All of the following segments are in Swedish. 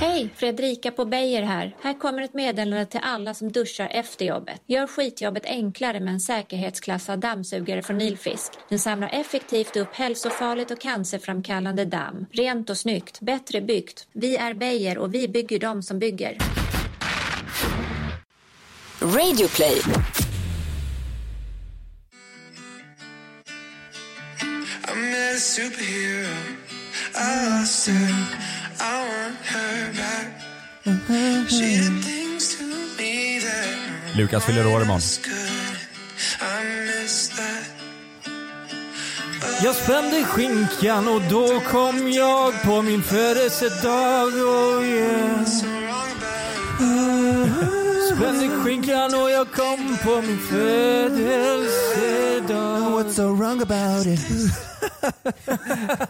Hej, Fredrika på Beijer här. Här kommer ett meddelande till alla som duschar efter jobbet. Gör skitjobbet enklare med en säkerhetsklassad dammsugare från Nilfisk. Den samlar effektivt upp hälsofarligt och cancerframkallande damm. Rent och snyggt, bättre byggt. Vi är Beijer och vi bygger de som bygger. Radioplay. I met a superhero. I lost her. I want her back. She did things to me that Lukas fyller år imorgon. was good. I miss that. Jag spände skinkan och då kom jag på min födelsedag, oh yeah. Spände skinkan och jag kom på min födelsedag. What's so wrong about it?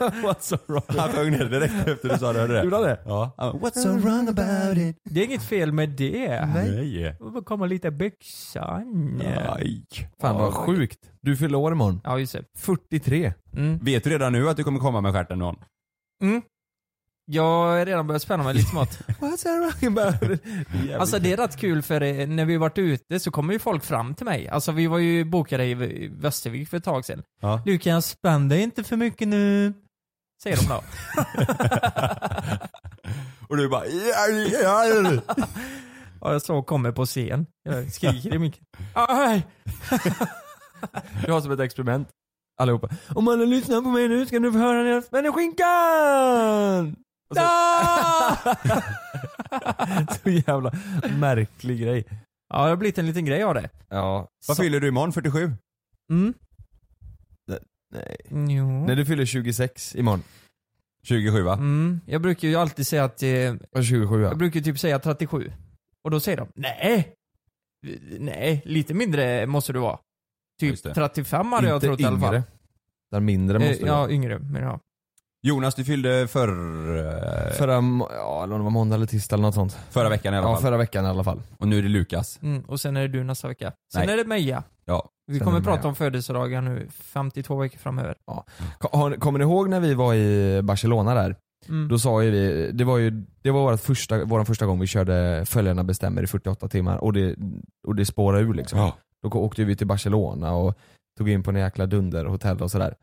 What's so wrong? Han sjöng ner direkt efter du sa det, hörde du det? Gjorde han det? Ja. Han bara, What's so wrong about it? Det är inget fel med det. Nej. Det kommer lite byxan. Nej. Fan vad sjukt. Du fyller år imorgon. Ja, just det. 43. Mm. Vet du redan nu att du kommer komma med stjärten någon? Jag har redan börjat spänna mig lite smått. What's so wrong about it? Alltså det är rätt kul för eh, när vi varit ute så kommer ju folk fram till mig. Alltså vi var ju bokade i V- Västervik för ett tag sedan. Ja. Lukas, spänn dig inte för mycket nu. Säger de då. Och du bara ja, ja, ja. Ja, jag står och kommer på scen. Jag skriker i micken. Aj! Du har som ett experiment. Allihopa. Om alla lyssnar på mig nu ska ni få höra när jag spänner skinkan! Och Så, så jävla märklig grej. Ja, det har blivit en liten grej av det. Ja. Vad fyller du imorgon? 47? Mm. Nej. Jo. Nej du fyller 26 imorgon. 27 va? Mm. Jag brukar ju alltid säga att, eh, jag Och 27 ja. brukar ju typ säga 37. Och då säger de, nej! Nej, lite mindre måste du vara. Just det. Typ 35 hade jag trott i alla fall. Den mindre Eh, måste du Ja, vara. yngre. Men ja. Jonas du fyllde förr, Förra, må- ja, eller om det var måndag eller tisdag eller något sånt. förra veckan i alla Ja, fall. förra veckan i alla fall. Och nu är det Lukas. Mm, och sen är det du nästa vecka. Sen Nej. är det Meja. Ja. Vi Sen är kommer det prata Meja. om födelsedagar nu 52 veckor framöver. Ko- har ni- Kommer ni ihåg när vi var i Barcelona där? Mm. Då sa ju vi, det var ju det var vårt första, vår första gång vi körde Följarna bestämmer i 48 timmar och det, och det spårade ur liksom. Ja. Då ko- åkte vi till Barcelona och tog in på en jäkla dunderhotell och sådär.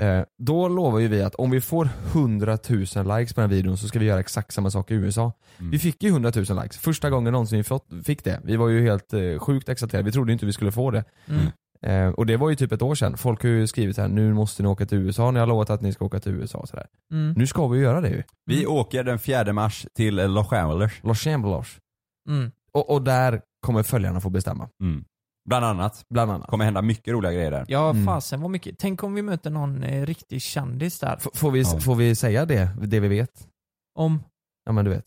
Eh, då lovar ju vi att om vi får 100 000 likes på den här videon så ska vi göra exakt samma sak i USA. Mm. Vi fick ju 100 000 likes, första gången någonsin vi fått, fick det. Vi var ju helt eh, sjukt exalterade, vi trodde inte vi skulle få det. Mm. Eh, och det var ju typ ett år sedan. Folk har ju skrivit här, nu måste ni åka till USA, ni har lovat att ni ska åka till USA och sådär. Mm. Nu ska vi ju göra det ju. Vi åker den 4 mars till Los Angeles. Los Chamberlain. Mm. Och, och där kommer följarna få bestämma, Mm. Bland annat. bland annat. kommer hända mycket roliga grejer där. Ja, Mm. fasen vad mycket. Tänk om vi möter någon eh, riktig kändis där. F- får, vi, Ja. får vi säga det, det vi vet? Om... Ja men du vet.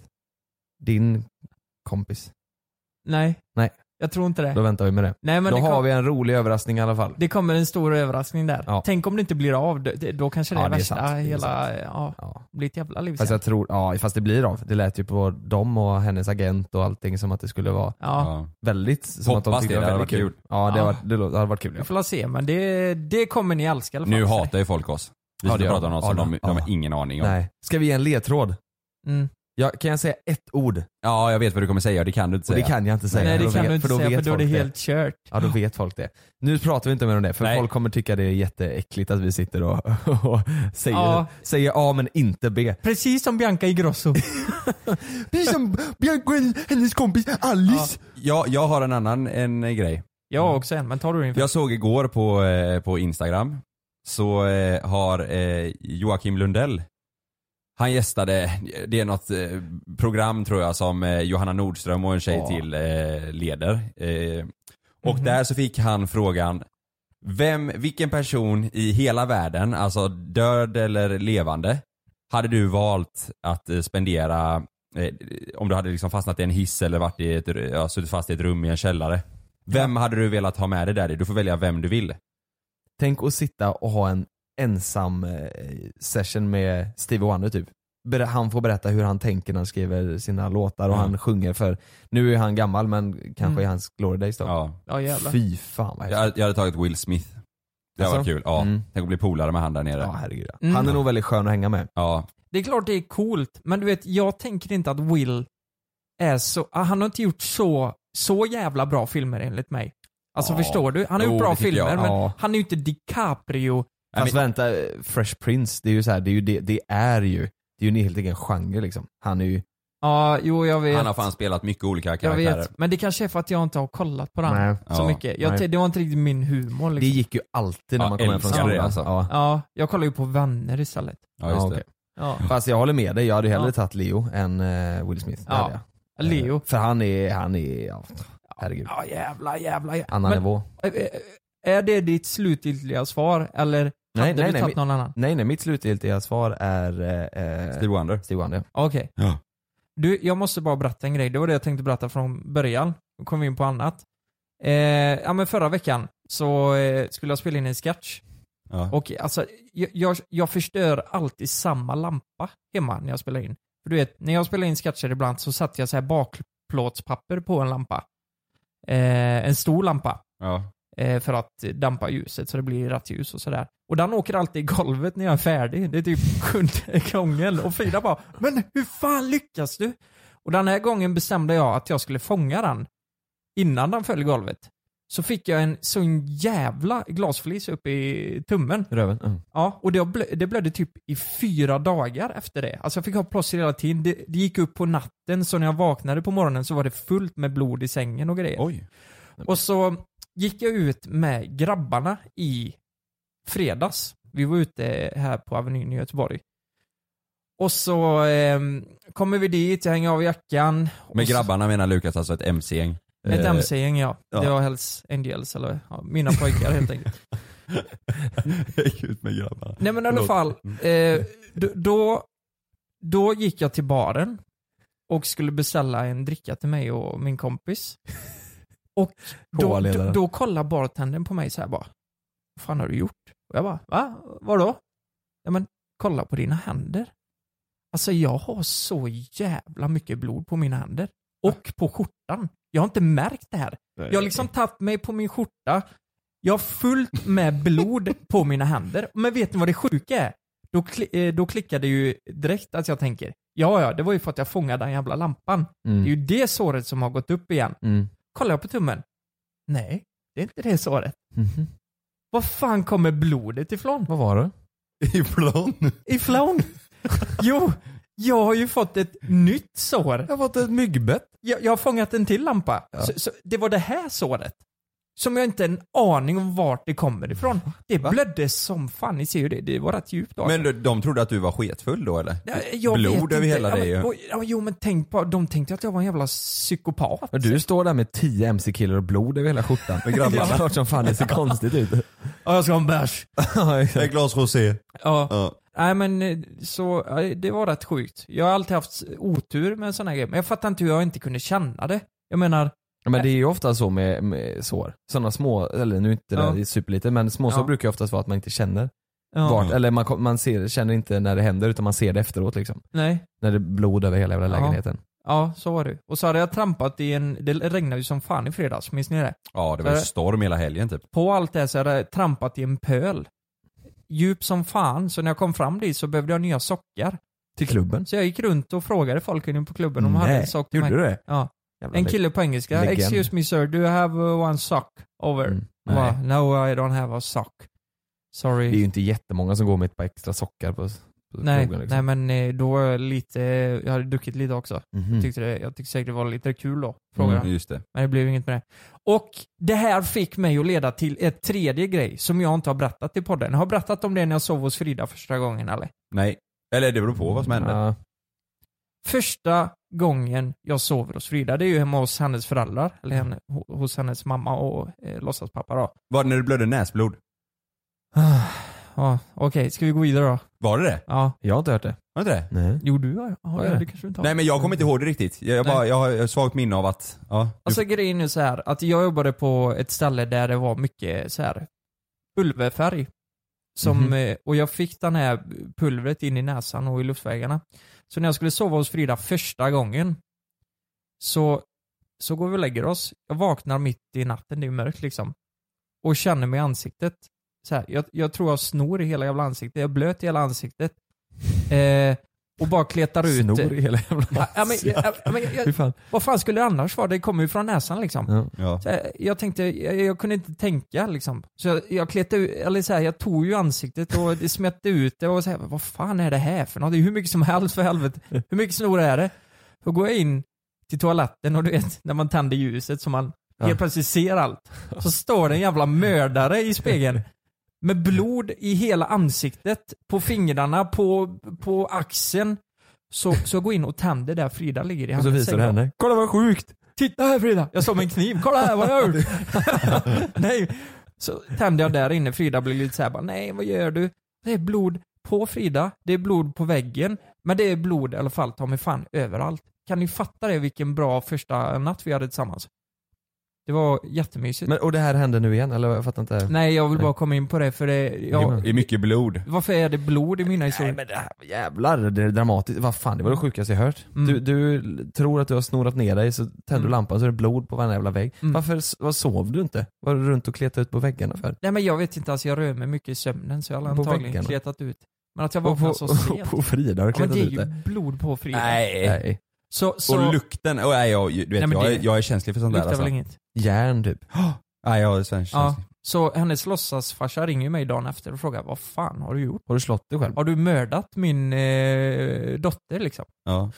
Din kompis. Nej. Nej. Jag tror inte det. Då väntar vi med det. Nej men Då det, kom... har vi en rolig överraskning i alla fall. det kommer en stor överraskning där. Ja. Tänk om det inte blir av. Det- det- Då kanske det Ja, är det är värsta sant. Det är hela... sant. Ja, Ja. det blir ett jävla liv Fast sen. jag tror, ja fast det blir av. Det lät ju på dem och hennes agent och allting som att det skulle vara Ja. väldigt, som Hoppas att de tyckte det, det hade väldigt varit Ja det, Ja. Var, det, lå- det hade varit kul. Vi Ja. får la se, men det, det kommer ni älska i alla fall. Nu hatar ju folk oss. Vi Ja, sitter det och gör pratar om något de. som Ja, de, ja. de har ingen aning om. Nej. Ska vi ge en ledtråd? Mm. Ja, kan jag säga ett ord? Ja, jag vet vad du kommer säga och det kan du inte Och det säga. kan jag inte säga. Nej för det då kan vet- du inte då säga för vet då är det folk helt kört. Ja då vet folk det. Nu pratar vi inte mer om det för Nej. folk kommer tycka det är jätteäckligt att vi sitter och, och säger, Ja. säger A men inte B. Precis som Bianca Ingrosso. Precis som Bianca och hennes kompis Alice. Jag, jag har en annan en eh, grej. Jag har också en, men tar du din? Jag såg igår på, eh, på Instagram, så eh, har eh, Joakim Lundell, han gästade, det är något eh, program tror jag som eh, Johanna Nordström och en tjej Ja. till eh, leder. Eh, och där så fick han frågan, vem, vilken person i hela världen, alltså död eller levande, hade du valt att eh, spendera eh, om du hade liksom fastnat i en hiss eller varit i ett, ja, suttit fast i ett rum i en källare. Vem hade du velat ha med dig där i? Du får välja vem du vill. Tänk att sitta och ha en ensam eh, session med Stevie Wonder typ. Ber- Han får berätta hur han tänker när han skriver sina låtar och Mm. han sjunger för nu är han gammal men kanske Mm. är hans glory days då. Ja. Ja jävlar. Fy fan vad Jag, häftigt. hade- jag hade tagit Will Smith. Det var Alltså? kul. Ja. Mm. Tänk att bli polare med han där nere. Ja Ja. herregud ja. Mm. Han är nog väldigt skön att hänga med. Det är klart det är coolt, men du vet, jag tänker inte att Will är så... ah, Han har inte gjort så, så jävla bra filmer enligt mig. Alltså Ja. förstår du? Han har Jo, gjort bra det tycker jag. filmer, men Ja. han är ju inte DiCaprio. Fast vänta, eh, Fresh Prince, det är ju så här, det är ju det, det är ju, det är ju en helt egen genre liksom. Han är ju, Ja, jo jag vet. Han har fan spelat mycket olika jag karaktärer. vet. Men det kanske är för att jag inte har kollat på den Nej. så Ja. mycket. Jag, Nej. t- det var inte riktigt min humor det liksom. gick ju alltid när Ja, man kom hem från älskar det, skolan. alltså. Ja. Ja, jag kollar ju på vänner istället. Ja, just Ja, det. okej. Ja. Fast jag håller med dig, jag hade ju hellre Ja. tagit Leo än eh, Will Smith. Det Ja. hade jag. Leo. Eh, För han är, han är, ja, herregud. Ja jävlar, jävlar, jävlar. Annan Men- eh, nivå. Är det ditt slutgiltiga svar eller Nej, hade nej, du nej, tagit någon annan? Nej nej, mitt slutgiltiga svar är eh, eh, Steve Wonder. Steve Wonder. Okej. Ja. Du, jag måste bara berätta en grej. Det var det jag tänkte berätta från början. Nu kom vi in på annat. Eh, ja men förra veckan så eh, skulle jag spela in en sketch. Ja. Och alltså, jag, jag, jag förstör alltid samma lampa hemma när jag spelar in. För du vet, när jag spelar in sketcher ibland så satte jag så här bakplåtspapper på en lampa. Eh, en stor lampa. Ja. eh, för att dampa ljuset så det blir rätt ljus och sådär. Och den åker alltid i golvet när jag är färdig. Det är typ sjunde gången. Och Frida bara “Men hur fan lyckas du?” Och den här gången bestämde jag att jag skulle fånga den innan den föll i golvet. Så fick jag en sån jävla glasflis upp i tummen. Röven. Mm. Ja, och det, blö, det blödde typ i fyra dagar efter det. Alltså jag fick ha plåster hela tiden. Det, det gick upp på natten så när jag vaknade på morgonen så var det fullt med blod i sängen och grejer. Oj. Och så gick jag ut med grabbarna i fredags. Vi var ute här på Avenyn i Göteborg. Och så ehm, kommer vi dit, jag hänger av jackan. Med Och så- grabbarna menar Lukas alltså ett MC-gäng. Ett Eh, MC-gäng ja. ja. Det var Hells Angels, eller ja, mina pojkar helt enkelt. Jag gick ut med grabbarna. Nej men i alla Förlåt. fall, eh, d- då, då gick jag till baren och skulle beställa en dricka till mig och min kompis. Och då, K-ledaren. då, då kollar bartendern på mig så här bara. Vad fan har du gjort? Och jag bara, va? Vadå? Ja men, kolla på dina händer. Alltså jag har så jävla mycket blod på mina händer. Och på skjortan. Jag har inte märkt det här. Jag har liksom tagit mig på min skjorta, jag har fullt med blod på mina händer. Men vet ni vad det sjuka är? Då, kli- eh, då klickade det ju direkt att jag tänker, ja ja, det var ju för att jag fångade den jävla lampan. Det är Mm. ju det såret som har gått upp igen. Mm. Kollar jag på tummen? Nej, det är inte det såret. Mhm. Var fan kommer blodet ifrån? Vad var det? Ibland. Ifrån? Jo, jag har ju fått ett nytt sår. Jag har fått ett myggbett. Jag, jag har fångat en till lampa. Så, så det var det här såret. Som jag inte har en aning om vart det kommer ifrån. Det blödde som fan, ni ser ju det. Det var rätt djupt då. Men du, de trodde att du var sketfull då eller? Ja, jag blod vet inte. över hela ja, dig ju. men, oj, ja, Jo men tänk på, de tänkte att jag var en jävla psykopat. Men du står där med 10 MC-killar och blod över hela skjortan. Med grabbarna. Det är klart som fan det ser konstigt ut. Ja, jag ska ha en bärs. Ja, exakt. Ett glas rosé. Ja. Ja. Nej men eh, så, ja, det var rätt sjukt. Jag har alltid haft otur med sådana grejer. Men jag fattar inte hur jag inte kunde känna det. Jag menar, Men det är ju ofta så med, med sår. Sådana små, eller nu inte Ja. det är superlite, men småsår Ja. brukar ju oftast vara att man inte känner. ja, Vart, eller man, kom- man ser, känner inte när det händer utan man ser det efteråt liksom. nej. När det är blod över hela jävla Ja. lägenheten. Ja, så var det Och så hade jag trampat i en, det regnade ju som fan i fredags, minns ni det? Ja, det Äh. var ju storm hela helgen typ. På allt det här så hade jag trampat i en pöl. Djup som fan, så när jag kom fram dit så behövde jag nya sockar. Till klubben. Så jag gick runt och frågade folk inne på klubben om de hade en Mm. Nej, sock till gjorde mig. du det? Ja. Jävla En leg- kille på engelska, Legend. excuse me sir, do you have uh, one sock over? Mm. Jag bara, Nej. no I don't have a sock. Sorry. Det är ju inte jättemånga som går med ett par extra sockar på, på nej, nej krogen liksom. men eh, då var jag lite, jag hade druckit lite också. Mhm. Tyckte det, jag tyckte säkert det var lite kul då. Frågade Mm. han. Just det. Men det blev inget med det. Och det här fick mig att leda till ett tredje grej som jag inte har berättat i podden. Har jag berättat om det när jag sov hos Frida första gången eller? Nej. Eller det beror på vad som hände. Ja. Första gången jag sover hos Frida, det är ju hemma hos hennes föräldrar, eller henne, ho- hos hennes mamma och eh, låtsaspappa då. Var det när du blödde näsblod? Ja, Okej, ska vi gå vidare då? Var det det? Ja. Jag har inte hört det. Var det det? Nej. Jo, du har ja, Vad är ja, det? det kanske du inte har. Nej men jag kommer inte ihåg det riktigt. Jag, jag, Nej. bara, jag har ett svagt minne av att, ja. du- Alltså grejen är så här att jag jobbade på ett ställe där det var mycket så här pulverfärg. Som, eh, Och jag fick den här pulvret in i näsan och i luftvägarna. Så när jag skulle sova hos Frida första gången så, så går vi och lägger oss. Jag vaknar mitt i natten, det är mörkt liksom. Och känner mig i ansiktet. Så här, jag, jag tror jag snor i hela jävla ansiktet. Jag är blöt i hela ansiktet. Eh, och bara kletar ut. Snor i hela jävla Ja, ja, men, ja, ja, men, Fy jag, fan. vad fan skulle det annars vara? Det kommer ju från näsan liksom. Ja. Ja. Så här, jag tänkte, jag, jag kunde inte tänka liksom. Så jag, jag kletade ut, eller så här, jag tog ju ansiktet och det smette ut det och så här, vad fan är det här för något? Det är hur mycket som helst för helvete. Hur mycket snor är det? Då går jag in till toaletten och du vet, när man tänder ljuset så man Ja. helt plötsligt ser allt. Så står det en jävla mördare i spegeln. Med blod i hela ansiktet, på fingrarna, på, på axeln. Så, så jag går in och tänder där Frida ligger i Och hans så visar du henne. Kolla vad sjukt! Titta här Frida! Jag står med en kniv, kolla här vad jag har gjort! nej! Så tände jag där inne, Frida blir lite såhär bara, nej vad gör du? Det är blod på Frida, det är blod på väggen, men det är blod i alla fall ta mig fan överallt. Kan ni fatta det vilken bra första natt vi hade tillsammans? Det var jättemysigt. Men, och det här hände nu igen, eller jag fattar inte. nej jag vill bara komma in på det för det, jag, Det är mycket blod. varför är det blod i mina Nej historier? men det här, jävlar, det är dramatiskt. Vad fan, det var det sjukaste jag hört. Mm. Du, du tror att du har snorat ner dig, så tänder du Mm. lampan så är det blod på varenda jävla vägg. Mm. Varför s- vad sov du inte? Var du runt och kletade ut på väggarna för? Nej men jag vet inte, alltså jag rör mig mycket i sömnen så jag har På antagligen väggarna? kletat ut. Men att jag Och på, vaknade så och sent. på Frida har du Ja, men kletat det är ut ju det? blod på Frida. Nej. Nej. Så, så Och lukten. Oh, nej, jag, du vet, Nej, men jag, det- är, jag är känslig för sånt där luktar alltså. väl inget. Järn typ. Nej, jag är svensk Ja. känslig. Så hennes låtsasfarsa ringer ju mig dagen efter och frågar vad fan har du gjort? Har du slått dig själv? Har du mördat min eh, dotter liksom? Ja.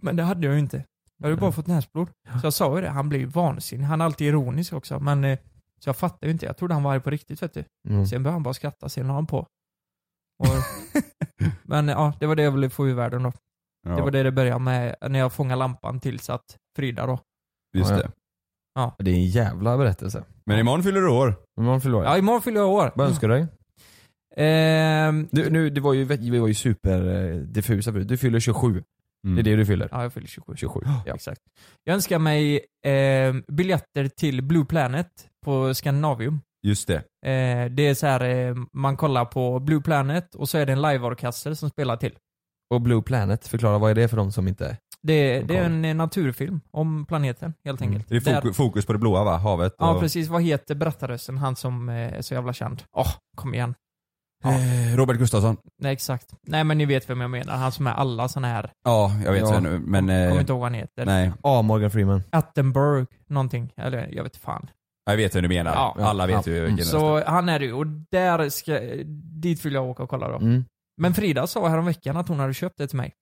Men det hade jag ju inte. Jag hade ju bara fått näsblod. Så jag sa ju det, han blir ju vansinnig. Han är alltid ironisk också men eh, så jag fattar ju inte. Jag trodde han var arg på riktigt vet du. Mm. Sen började han bara skratta, sen la han på. Och, men eh, ja, det var det jag ville få ur världen då. ja. Det var det det började med när jag fångade lampan tills att Frida då. Just Ja, ja. det. Det är en jävla berättelse. Men imorgon fyller du år. Imorgon fyller jag. Ja, imorgon fyller jag år. Vad önskar du dig? Ehm, Du, nu, det var ju, vi var ju superdiffusa förut. Du fyller 27. Mm. Det är det du fyller. Ja, jag fyller 27. 27. Ja. Exakt. Jag önskar mig eh, biljetter till Blue Planet på Scandinavium. Just det. Eh, det är så här, eh, man kollar på Blue Planet och så är det en liveorkester som spelar till. Och Blue Planet, förklara vad är det för de som inte... Det, Som det är koll. en eh, naturfilm om planeten helt Mm. enkelt. Det är Där- fokus, fokus på det blåa va? Havet och... Ja, precis. Vad heter berättarrösten, han som eh, är så jävla känd? Åh, kom igen. Eh, Robert Gustafsson. Nej, exakt. Nej, men ni vet vem jag menar. Han som är alla såna här. Ja, jag vet Ja. så nu. Men... Kommer Eh, inte ihåg vad han heter. nej. Ja, Morgan Freeman. Attenberg, någonting. Eller jag vet fan. Jag vet hur du menar. Ja. Alla vet Ja. ju Mm. vilken röst Så han är det ju. Och där ska, dit vill jag åka och kolla då. Mm. Men Frida sa häromveckan att hon hade köpt det till mig.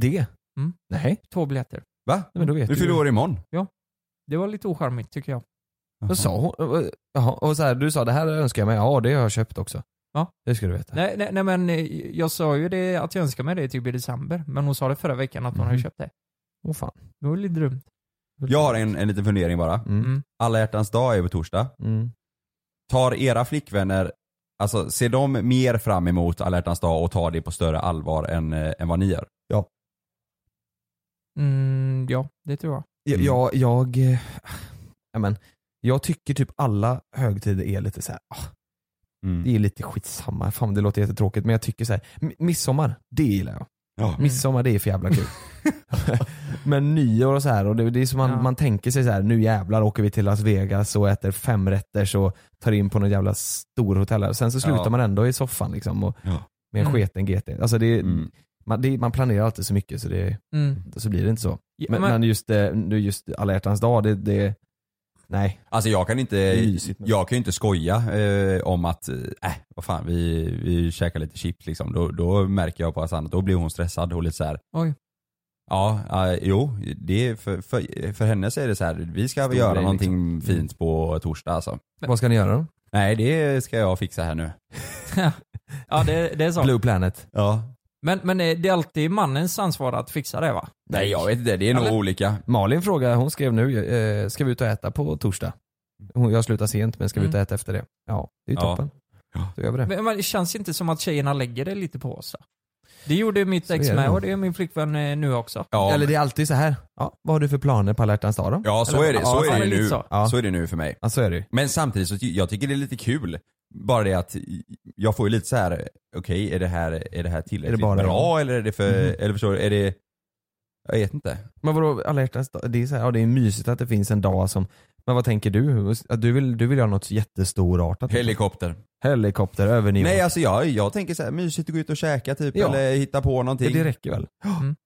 Det? Mm. Nej, Två biljetter. Va? men då vet Du fyller år imorgon. Det var lite ocharmigt tycker jag. Vad sa hon? Jaha, och så här, du sa det här önskar jag mig. Ja, det har jag köpt också. Ja. Det ska du veta. Nej, nej, nej men eh, jag sa ju det att jag önskar mig det typ i december. Men hon sa det förra veckan att hon hade Mhm. köpt det. Åh fan. Det var lite dumt. Jag har en, en liten fundering bara. Mm. Mm. Alla hjärtans dag är på torsdag. Mm. Tar era flickvänner, alltså ser de mer fram emot alla hjärtans dag och tar det på större allvar än, eh, än vad ni gör? Mm, ja, det tror jag. Jag, Mm. jag, jag, eh, ja, men, jag tycker typ alla högtider är lite så här, ah, Mm. det är lite skitsamma. Fan det låter jättetråkigt men jag tycker så här, mi- midsommar, det gillar jag. Ja. Mm. Midsommar det är för jävla kul. men nyår och så här, och det, det är som man, Ja. man tänker sig så här, nu jävlar åker vi till Las Vegas och äter fem rätter och tar in på någon jävla storhotell. här. Sen så slutar Ja. man ändå i soffan liksom och Ja. med en Mm. sketen GT. Alltså det, Mm. man, det, man planerar alltid så mycket så, det, Mm. så blir det inte så. Ja, Men, men, just, eh, nu just alla hjärtans dag, det, det nej. Alltså jag kan inte, är mysigt, men- jag kan ju inte skoja eh, om att, eh, äh, vad fan vi, vi käkar lite chips liksom. Då, då märker jag på Hassan att då blir hon stressad och lite så här. Oj. Ja, eh, jo, det är för, för, för henne så är det så här, vi ska Stor göra grej, liksom. Mm. någonting fint på torsdag alltså. Vad ska ni göra då? Nej det ska jag fixa här nu. ja, det, det är så. Blue Planet. Ja. Men, men eh, det är alltid mannens ansvar att fixa det va? Nej jag vet inte, det är nog Eller- olika. Malin frågar, hon skrev nu, eh, ska vi ut och äta på torsdag? Hon, jag slutar sent men ska vi ut och äta efter det? Ja, det är ju Mm. Ja. toppen. Då gör vi det. Men, men det känns inte som att tjejerna lägger det lite på oss va? Det gjorde mitt Så ex är det med nog. och det gör min flickvän eh, nu också. Ja, Eller det är alltid så här. Ja, vad har du för planer på alla hjärtans dag då? ja så Eller- är det, så ja, är men det lite nu. så. Ja. Så är det nu för mig. Ja, så är det ju. Men samtidigt så ty- jag tycker det är lite kul. Bara det att jag får ju lite så här okej är det här, är det här tillräckligt bara Mhm. bra eller är det för, eller förstår du, är det Jag vet inte. Men vadå alla hjärtans dag? Det är, så här, ja, det är mysigt att det finns en dag som, men vad tänker du? Att Du vill, du vill göra något jättestorartat? Helikopter. Helikopter över New Nej York. alltså jag, jag tänker så här mysigt att gå ut och käka typ Ja. eller hitta på någonting. Det, det räcker väl? Mm.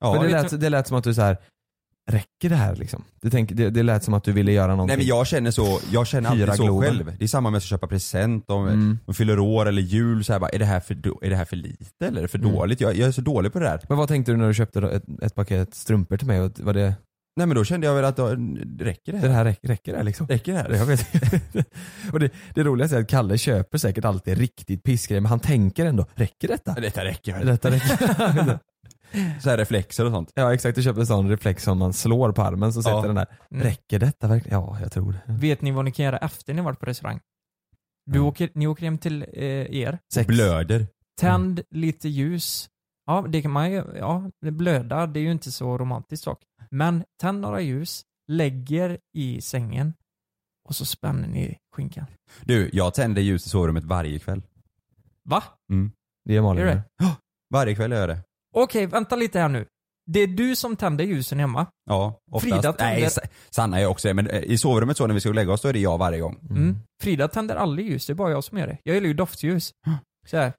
ja, men det, vet lät, inte. det lät som att du så här räcker det här liksom? Du tänker, det, det lät som att du ville göra någonting. Nej men jag känner så, jag känner Hyra alltid så Globen. själv. Det är samma om jag ska köpa present, om Mm. om fyller år eller jul så här, bara, är, det här för, do- är det här för lite eller är det för Mm. dåligt? Jag, jag är så dålig på det där. Men vad tänkte du när du köpte då ett, ett paket strumpor till mig? Och var det, Nej men då kände jag väl att då, räcker det här? det här räcker, räcker det här liksom? Räcker det här? Jag vet inte. Och det, det roligaste är att Kalle köper säkert alltid riktigt pissgrejer men han tänker ändå, räcker detta? Detta räcker väl? Detta räcker. Så här reflexer och sånt. ja exakt, du köper en sån reflex som man slår på armen så sätter Ja. den där. Mm. Räcker detta verkligen? Ja, jag tror det. Vet ni vad ni kan göra efter ni varit på restaurang? Du Mm. åker, ni åker hem till eh, er, Sex. Blöder. tänd lite ljus. Ja, det kan man ju, ja, det blöda, det är ju inte så romantiskt dock. Men tänd några ljus, lägger i sängen och så spänner ni skinkan. Du, jag tänder ljus i sovrummet varje kväll. Va? Det gör Malin. Gör det? Varje kväll gör jag det. Okej, vänta lite här nu. Det är du som tänder ljusen hemma. Ja, oftast. Frida tänder- Nej, Sa- Sanna är också det, men eh, i sovrummet så när vi ska gå och lägga oss då är det jag varje gång. Mm. Frida tänder aldrig ljus, det är bara jag som gör det. Jag gillar ju doftljus. Så här.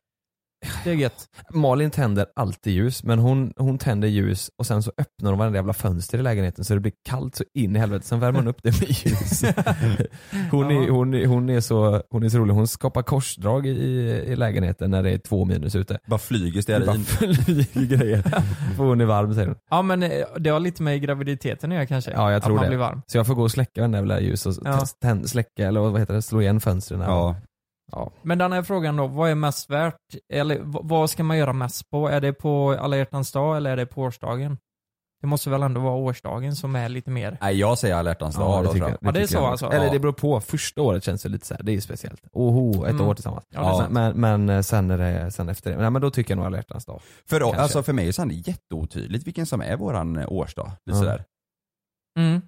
Det är gött. Malin tänder alltid ljus, men hon, hon tänder ljus och sen så öppnar hon varenda jävla fönster i lägenheten så det blir kallt så in i helvete. Sen värmer hon upp det med ljus. Hon är, Ja. hon, är, hon, är så, hon är så rolig, hon skapar korsdrag i, i lägenheten när det är två minus ute. Mm. Bara flyger Det bara stearin. flyger grejer. För hon är varm säger hon. Ja men eh, det har lite med graviditeten att göra kanske. Ja, jag tror att man det. blir varm. Så jag får gå och släcka den där jävla ljus och Ja. tänd, släcka eller vad heter det, slå igen fönstren. här. Ja. Men den här frågan då, vad är mest värt? Eller v- vad ska man göra mest på? Är det på alla hjärtans dag eller är det på årsdagen? Det måste väl ändå vara årsdagen som är lite mer. Nej, jag säger alla hjärtans dag. Ja, då, det tycker tror jag. Ja, det är tycker så jag. alltså. Eller Ja. det beror på. Första året känns det lite så här, det är ju speciellt. Oho, ett Mm. år tillsammans. Ja, det är sant. men, men eh, sen, är det, sen efter det, nej, men då tycker jag nog alla hjärtans dag. För, Kanske. alltså, för mig är det jätteotydligt vilken som är våran eh, årsdag. Lite Ja. sådär. Mm.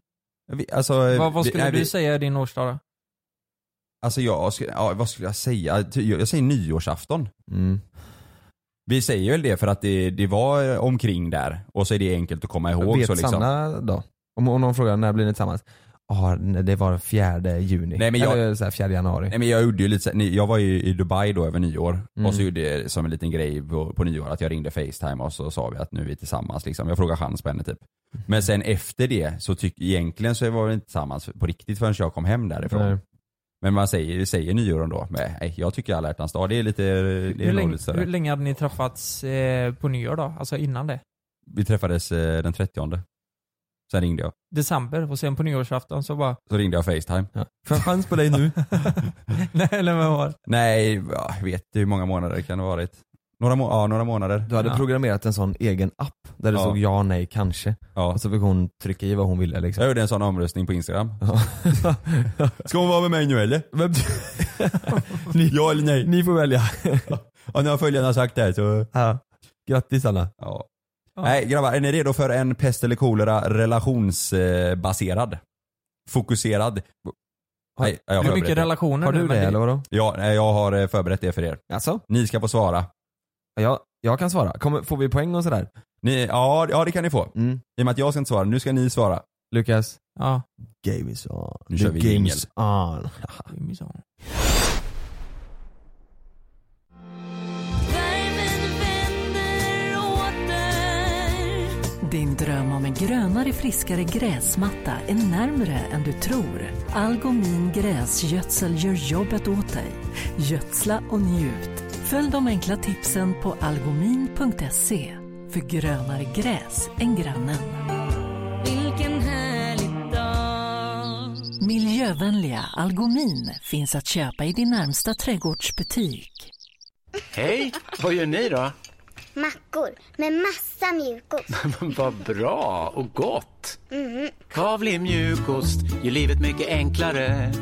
Vi, alltså, Vad, vad vi- skulle nej, du vi- säga är din årsdag då? Alltså jag, skulle- ja, vad skulle jag säga? Ty- Jag jag säger nyårsafton. Mm. Vi säger väl det för att det, det var omkring där och så är det enkelt att komma ihåg. Vet så liksom. Sanna då? Om, om någon frågar när blir ni tillsammans? Ja, nej, det var fjärde juni. Nej, men jag- Eller så här, fjärde januari. Nej men jag gjorde ju lite så här- ni- jag var ju i Dubai då över nyår Mm. och så gjorde jag som en liten grej på, på nyår att jag ringde Facetime och så sa vi att nu är vi tillsammans liksom. Jag frågade chans på henne typ. Men sen efter det så tycker egentligen så var vi inte tillsammans på riktigt förrän jag kom hem därifrån. Nej. Men man säger, vi säger nyår ändå. Men nej, jag tycker alla hjärtans dag, det är lite, det är Hur nog länge, lite hur större. länge hade ni träffats eh, på nyår då? Alltså innan det? Vi träffades eh, den 30 Sen ringde jag. December och sen på nyårsafton så bara, Så ringde jag Facetime. Ja. Får jag chans på dig nu? nej eller vad var det? Nej, jag vet inte hur många månader det kan ha varit. Några, må- ja, några månader. Du hade Ja. programmerat en sån egen app där det Ja. stod ja, nej, kanske. Ja. Och så fick hon trycka i vad hon ville liksom. Jag gjorde en sån omröstning på Instagram. Ja. Ska hon vara med mig nu eller? ja eller nej? Ni får välja. Ja, nu har följarna sagt det här så... Ja. Grattis Anna. Ja. Nej grabbar, är ni redo för en pest eller kolera relationsbaserad? Fokuserad? Nej, jag har Hur förberett mycket det. relationer? Har nu, du men det eller vadå? Ja, nej, jag har eh, förberett det för er. Alltså? Ni ska få svara. Jag, jag kan svara. Kommer, får vi poäng och sådär? Ni, ja, ja, det kan ni få. Mm. I och med att jag ska inte svara, nu ska ni svara. Lukas? Ja. Game is on. Nu kör vi jingel. on. Din dröm om en grönare, friskare gräsmatta är närmre än du tror. Algomin gräsgödsel gör jobbet åt dig. Gödsla och njut. Följ de enkla tipsen på algomin.se. För grönare gräs än grannen. Vilken härlig dag Miljövänliga Algomin finns att köpa i din närmsta trädgårdsbutik. Hej! Vad gör ni då? Mackor med massa mjukost. Mm. Vad bra och gott! Kavli mjukost gör livet mycket enklare.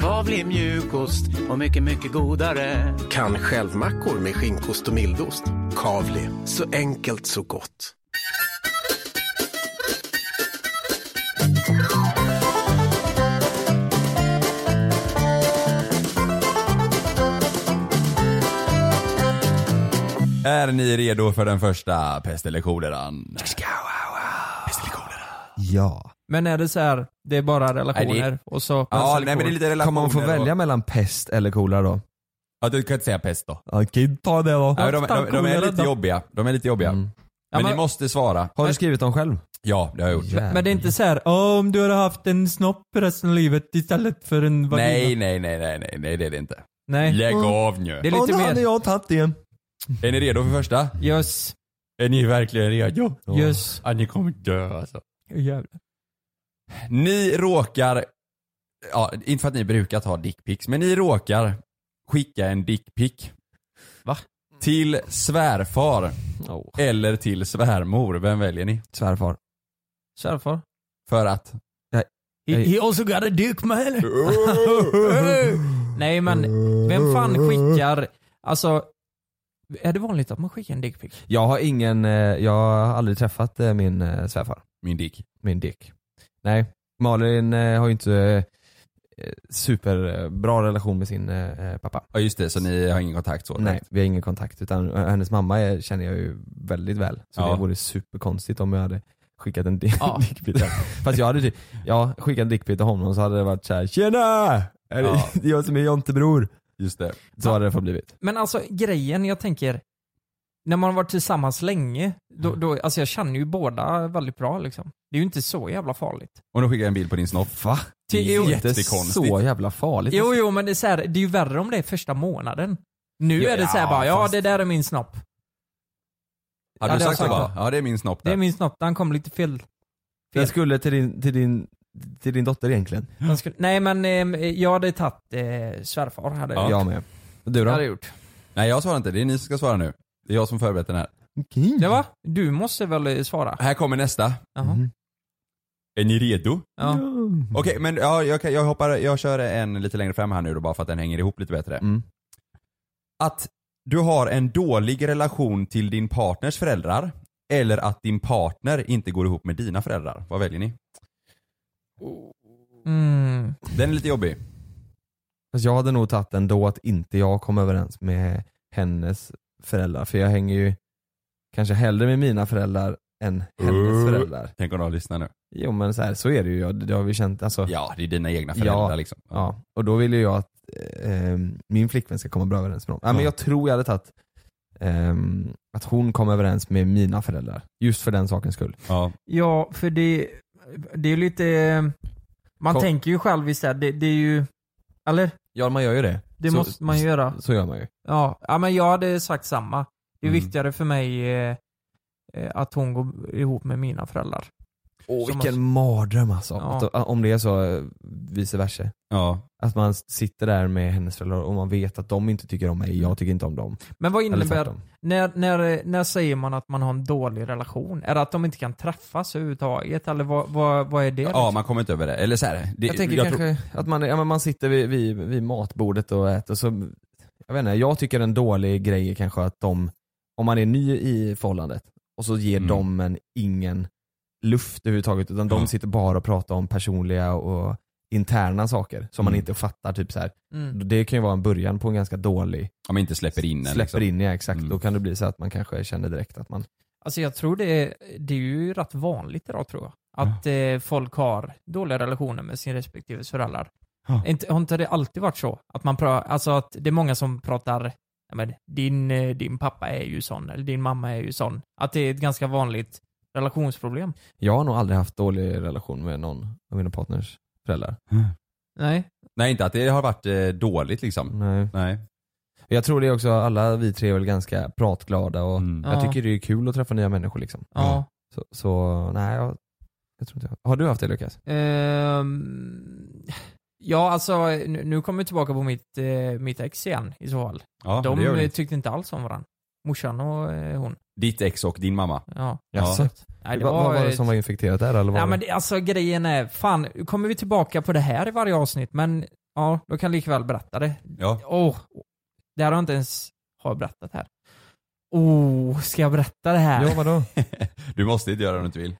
Kavli mjukost och mycket, mycket godare. Kan självmackor med skinkost och mildost. Kavli, så enkelt så gott. Är ni redo för den första pest eller koleran? Pest eller koleran. Ja. Men är det så här, det är bara relationer Nej, det- och så... Ja, nej men det är lite relationer Kommer man få och- välja mellan pest eller kolera då? Ja, du kan inte säga pest då. Ja, okay, ta det då. Nej, men de, de, de är kolera lite då. jobbiga. De är lite jobbiga. Mm. Men Ja, ni men- måste svara. Har du skrivit dem själv? Ja, det har jag gjort. Jävlar. Men det är inte så här, "Åh, om du hade haft en snopp resten av livet istället för en vagina. Nej, nej, nej, nej, nej, nej, Mm. det är det inte. Nej. Lägg av nu. Det är lite mer... jag tagit igen. Är ni redo för första? Yes, Är ni verkligen redo? yes. Ja, ni kommer dö alltså. Jävlar. Ni råkar, ja, inte för att ni brukar ta dickpics, men ni råkar skicka en dickpic. Va? Till svärfar eller till svärmor, vem väljer ni? Svärfar. Svärfar. För att? He, he also got a duke man. Nej men, vem fan skickar, alltså, är det vanligt att man skickar en dickpic? Jag har ingen, eh, jag har aldrig träffat eh, min eh, svärfar. Min dick. min dick. Nej, Malin eh, har ju inte eh, superbra relation med sin eh, pappa. Ja just det, så ni har ingen kontakt så? Nej, vi har ingen kontakt utan eh, hennes mamma är, känner jag ju väldigt väl. Så Ja. det vore superkonstigt om jag hade skickat en dick- Ja. dickpic. till- Fast jag hade ju- ja, skickat en dickpic till honom så hade det varit såhär Tjena! Är det Ja. det är jag som är Jontebror? Just det. Så hade det fått blivit. Men alltså grejen, jag tänker, när man har varit tillsammans länge, då, då, alltså jag känner ju båda väldigt bra liksom. Det är ju inte så jävla farligt. Och då skickar jag en bild på din snopp. Va? Det är ju Det är Jättekonstigt. så jävla farligt. Jo, jo, men det är, så här, det är ju värre om det är första månaden. Nu Ja, är det så här ja, bara, ja fast- det där är min snopp. Ja, Hade du det har sagt så jag bara? sagt. Ja det är min snopp där. Det är min snopp, den kom lite fel. Jag skulle till din, till din, till din dotter egentligen. Den skulle, nej men eh, jag hade tagit eh, svärfar hade Ja. jag Jag med. Du Det hade då? jag gjort. Nej jag svarar inte, det är ni som ska svara nu. Det är jag som förberett den här. Det va? Du måste väl eh, svara? Här kommer nästa. Jaha. Är ni redo? Ja. Mm. Okej men ja, jag, kan, jag hoppar, jag kör en lite längre fram här nu då bara för att den hänger ihop lite bättre. Mm. Att du har en dålig relation till din partners föräldrar eller att din partner inte går ihop med dina föräldrar. Vad väljer ni? Mm. Den är lite jobbig. Fast jag hade nog tagit ändå att inte jag kom överens med hennes föräldrar. För jag hänger ju kanske hellre med mina föräldrar än hennes Uh. föräldrar. Tänk om de lyssnar nu. Jo men så, här, så är det ju, Ja, det det har vi känt. Alltså, ja. Ja, det är dina egna föräldrar Ja. liksom. Och då vill ju jag att ehm, min flickvän ska komma bra överens med dem. Ja, men Ja. jag tror jag hade tagit ehm, att hon kom överens med mina föräldrar. Just för den sakens skull. Ja. Ja, för det, det är ju lite... eh, Man Kom. tänker ju själv istället, det, det är ju... Eller? Ja man gör ju det. Det så, måste man ju göra. Så gör man ju. Ja. ja, men jag hade sagt samma. Det är Mm. viktigare för mig eh, eh, att hon går ihop med mina föräldrar. Åh Som vilken mardröm alltså. Ja. Att, om det är så eh, vice versa. ja. Att man sitter där med hennes föräldrar och man vet att de inte tycker om mig, jag tycker inte om dem. Men vad Eller innebär... tvärtom. När, när, när säger man att man har en dålig relation? Är det att de inte kan träffas överhuvudtaget? Eller vad, vad, vad är det? liksom? Ja, man kommer inte över det. Eller så här, det, Jag tänker tror- kanske att man, ja, men man sitter vid, vid, vid matbordet och äter så, jag vet inte, jag tycker en dålig grej är kanske att de, om man är ny i förhållandet och så ger Mm. de en ingen luft överhuvudtaget utan de Ja. sitter bara och pratar om personliga och interna saker som man Mm. inte fattar. Typ så här. Mm. Det kan ju vara en början på en ganska dålig, om man inte släpper in en. släpper in ja exakt. Mm. Då kan det bli så att man kanske känner direkt att man Alltså jag tror det är, det är ju rätt vanligt idag tror jag. Att eh, folk har dåliga relationer med sin respektive föräldrar. Ja. Inte, har inte det alltid varit så? Att man pratar, alltså att det är många som pratar, ja, men, din, eh, din pappa är ju sån, eller din mamma är ju sån. Att det är ett ganska vanligt relationsproblem. Jag har nog aldrig haft dålig relation med någon av mina partners föräldrar. Nej. Nej, inte att det har varit eh, dåligt liksom. Nej. Nej. Jag tror det är också, alla vi tre är väl ganska pratglada och Mm. jag Ja. tycker det är kul att träffa nya människor liksom. Ja. Så, så nej, jag, jag tror inte jag Har du haft det Lukas? Ehm, ja, alltså nu, nu kommer vi tillbaka på mitt, eh, mitt ex igen i så fall. Ja, men det De gör eh, det. tyckte inte alls om varandra. Morsan och eh, hon. Ditt ex och din mamma. Ja. Jaså? Nej, Vad- Vad var det eh, som var infekterat där eller? Var Nej men det, alltså grejen är, fan, nu kommer vi tillbaka på det här i varje avsnitt men ja, då kan jag likväl berätta det. Ja. Åh, det här har jag inte ens har berättat här. Oh, ska jag berätta det här? Ja vadå? Du måste inte göra det om du inte vill.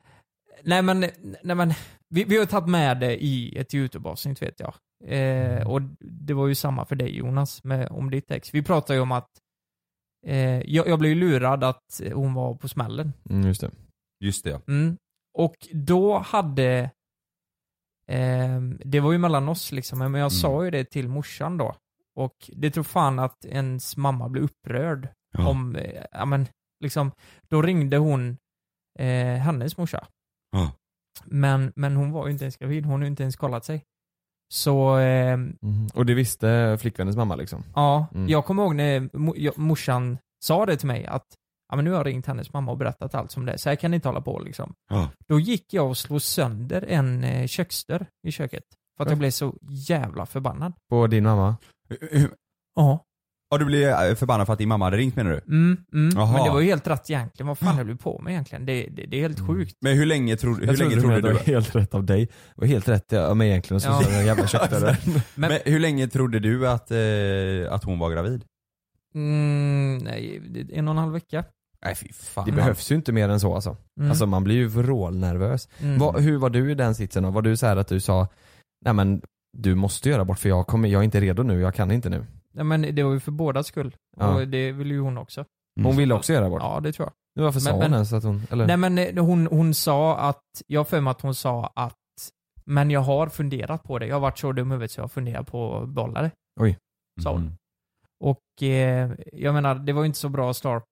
Nej men, nej men, vi, vi har tagit med det i ett YouTube-avsnitt vet jag. Eh, och det var ju samma för dig Jonas, med, om ditt ex. Vi pratade ju om att Eh, jag, jag blev ju lurad att hon var på smällen. Mm, just det. Just det ja. Mm. Och då hade, ehm, det var ju mellan oss liksom, men jag Mm. sa ju det till morsan då. Och det tror fan att ens mamma blev upprörd Ja. om, eh, ja men liksom, då ringde hon eh, hennes morsa. Ja. Men, men hon var ju inte ens gravid, hon har ju inte ens kollat sig. Så ehm, Mhm. Och det visste flickvännens mamma liksom? Ja, Mm. jag kommer ihåg när mo- jag- morsan sa det till mig att ja, men nu har jag ringt hennes mamma och berättat allt som det är, så här kan ni inte hålla på liksom. Ja. Då gick jag och slog sönder en eh, köksdörr i köket för att jag blev så jävla förbannad. På din mamma? Ja. Ja du blev eh, förbannad för att din mamma hade ringt menar du? Mm, mm. Jaha. Men det var ju helt rätt egentligen, vad fan höll du på med egentligen? Det, det, det är helt sjukt. Men hur länge, tro, hur Jag länge trodde trodde menade du... att det var helt rätt av dig. Det var helt rätt av mig egentligen att slå Ja. sönder den jävla köksdörren. Men, hur länge trodde du att, eh, att hon var gravid? Mm, nej, det- en och en halv vecka. Nej fy fan. Det behövs ju inte mer än så alltså. Mm. Alltså man blir ju vrålnervös. Mm. Vad- hur var du i den sitsen då? Var du så här att du sa, nej men du måste göra abort för jag, kommer, jag är inte redo nu, jag kan inte nu. Nej, men det var ju för bådas skull. Ja. Och det ville ju hon också. Hon ville också göra abort. Ja, det tror jag. Nu varför sa Men- hon men- ens att hon, eller? Nej men eh, hon, hon sa att, jag har för mig att hon sa att, men jag har funderat på det. Jag har varit så dum i huvudet så jag har funderat på att behålla det. sa hon. Mm. Och eh, jag menar, det var ju inte så bra start,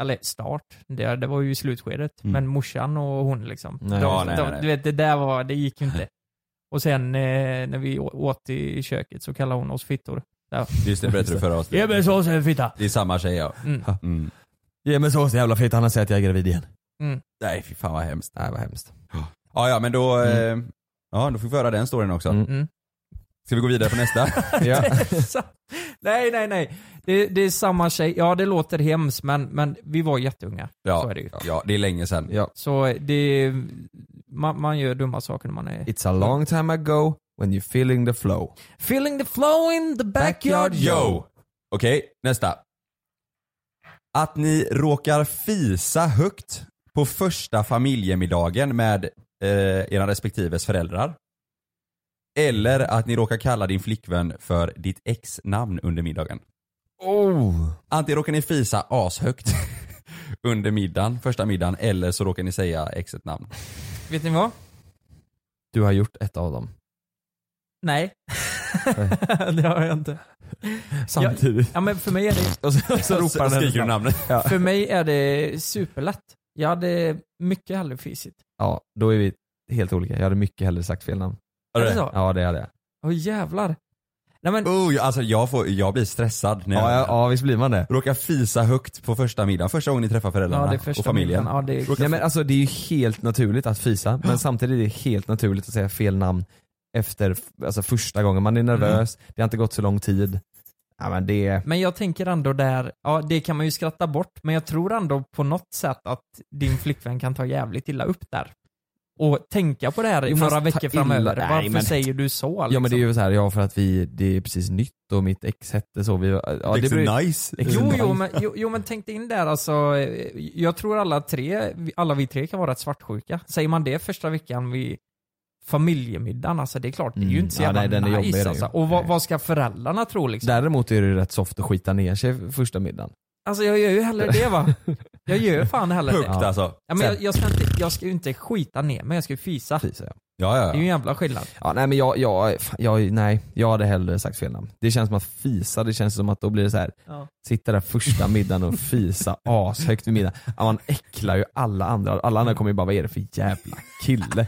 eller start, det, det var ju i slutskedet. Mm. Men morsan och hon liksom. Nej. de, Ja, nej, de, nej, nej. Du vet, det där var, det gick ju inte. Och sen eh, när vi å- åt i köket så kallade hon oss fittor. Just det, berättade du förra oss. Ge mig sås eller fitta! Det är samma tjej ja. Mm. Mm. Ge mig sås jävla fitta, annars säger jag att jag är gravid igen. Nej fy fan vad hemskt. Nej vad hemskt. Ja ja men då, eh, ja då fick vi höra den storyn också. Mm. Mm. Ska vi gå vidare på nästa? Ja. Så- nej, nej, nej. Det, det är samma tjej. Ja, det låter hemskt men, men vi var jätteunga. Så Ja, är det ju. ja det är länge sedan. ja. Så det, man, man gör dumma saker när man är... It's a long time ago when you're feeling the flow. Feeling the flow in the backyard Yo! Okej, nästa. Att ni råkar fisa högt på första familjemiddagen med eh, era respektives föräldrar. Eller att ni råkar kalla din flickvän för ditt ex-namn under middagen. Oh! Antingen råkar ni fisa ashögt under middagen, första middagen, eller så råkar ni säga exet namn. Vet ni vad? Du har gjort ett av dem. Nej. det har jag inte. Samtidigt. Ja men för mig är det, Och så, så ropar han hennes skriker du namn. namnet. för mig är det superlätt. Jag hade mycket hellre fisit. Ja, då är vi helt olika. Jag hade mycket hellre sagt fel namn. Är det Är det så? Ja det hade jag. Åh jävlar. Nej men, Oh, jag- alltså jag, får, jag blir stressad när jag Ja, ja, ja visst blir man det. råkar fisa högt på första middagen, första gången ni träffar ja föräldrarna det är första och familjen. bilden. Ja, det är, Nej men alltså det är ju helt naturligt att fisa, men samtidigt är det helt naturligt att säga fel namn efter alltså, första gången. Man är nervös, det har inte gått så lång tid. Ja men det är... Men jag tänker ändå där, ja det kan man ju skratta bort, men jag tror ändå på något sätt att din flickvän kan ta jävligt illa upp där. Och tänka på det här i Jo, några fast ta veckor framöver. illa- nej, Varför men- säger du så? Liksom? Ja men det är ju så här, ja för att vi, det är precis nytt och mitt ex hette så. Vi, ja, Liksom det blir, nice. Ex är Jo, nice. jo, men, jo, jo men tänk dig in där alltså. eh, Jag tror alla tre, vi- alla vi tre kan vara rätt svartsjuka. Säger man det första veckan vid familjemiddagen, alltså det är klart, det är ju Mm. inte så Ja, jävla nej, den är jobbig, den nice är alltså. ju. Och vad, Nej. vad ska föräldrarna tro liksom? däremot är det ju rätt soft att skita ner sig första middagen. Alltså jag gör ju hellre det va? Jag gör fan hellre det. Högt alltså. Ja, men jag, jag, ska inte, jag ska ju inte skita ner mig, jag ska ju fisa. Fisa ja. Ja, Det är ja, ju ja. en jävla skillnad. Ja nej men jag, jag, fan, jag, nej, jag hade hellre sagt fel namn. Det känns som att fisa, det känns som att då blir det så här. Ja. sitta där första middagen och fisa ashögt vid middagen. Ja, man äcklar ju alla andra, alla andra kommer ju bara vad är det för jävla kille?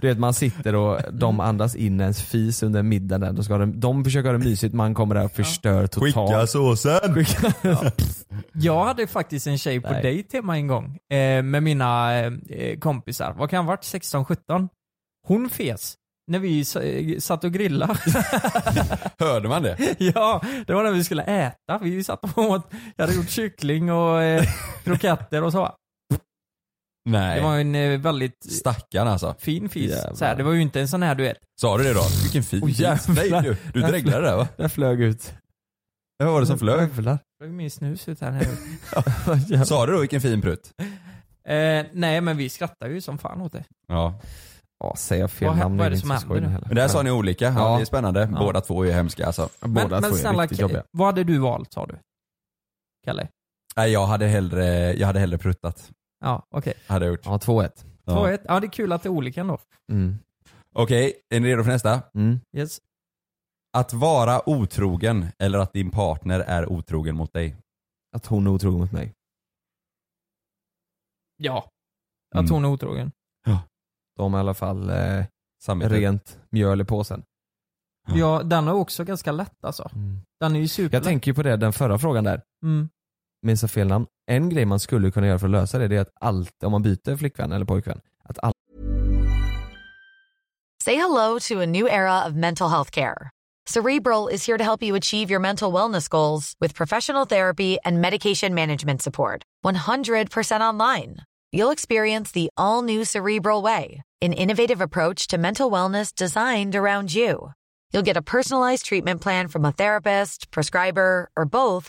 Du vet man sitter och de andas in ens fis under middagen där. De, ska ha det, de försöker ha det mysigt, man kommer där och förstör totalt. såsen. Jag hade faktiskt en tjej på Nej. dejt hemma en gång eh, med mina eh, kompisar. Vad kan ha varit? 16-17? Hon fes. När vi s- eh, satt och grillade. Hörde man det? ja, det var när vi skulle äta. Vi satt och åt, jag hade gjort kyckling och eh, kroketter och så. Nej. Det var en eh, väldigt Stackarn alltså. fin fis. Jävlar. Så här, det var ju inte en sån här du vet. Sa du det då? Vilken fin Oj, fis. Nej jävlar. du, du dreglade där va? Jag flög ut. Vad var det som flög? Jävlar. Jag har ju min snus ut här nu. Sa du då vilken fin prutt? eh, nej men vi skrattade ju som fan åt det. Ja. Ja, säger jag fel Vad hä- namn vad är det som inte så händer skoj nu? heller. Men där sa ni olika. Ja, Ja. det är spännande. Ja. Båda två är hemska alltså. Båda men två är snälla, riktigt jobbiga. vad hade du valt sa du? Kalle? Nej jag hade hellre, jag hade hellre pruttat. Ja, okej. Hade jag gjort. Ja, 2-1. 2-1. Ja, det är kul att det är olika ändå. Mm. Okej, är ni redo för nästa? Mm. Yes. Att vara otrogen eller att din partner är otrogen mot dig? Att hon är otrogen mot mig. Ja. Att Mm. hon är otrogen. Då har man i alla fall eh, Samvete. rent mjöl i påsen. Ja. Mm. Ja, den är också ganska lätt alltså. Den är ju superlätt. Jag tänker ju på det, den förra frågan där. Mm. minns jag fel namn. En grej man skulle kunna göra för att lösa det, det är att allt, om man byter flickvän eller pojkvän, att all, Say hello to a new era of mental health care. Cerebral is here to help you achieve your mental wellness goals with professional therapy and medication management support. 100% online. You'll experience the all new Cerebral Way, an innovative approach to mental wellness designed around you. You'll get a personalized treatment plan from a therapist, prescriber, or both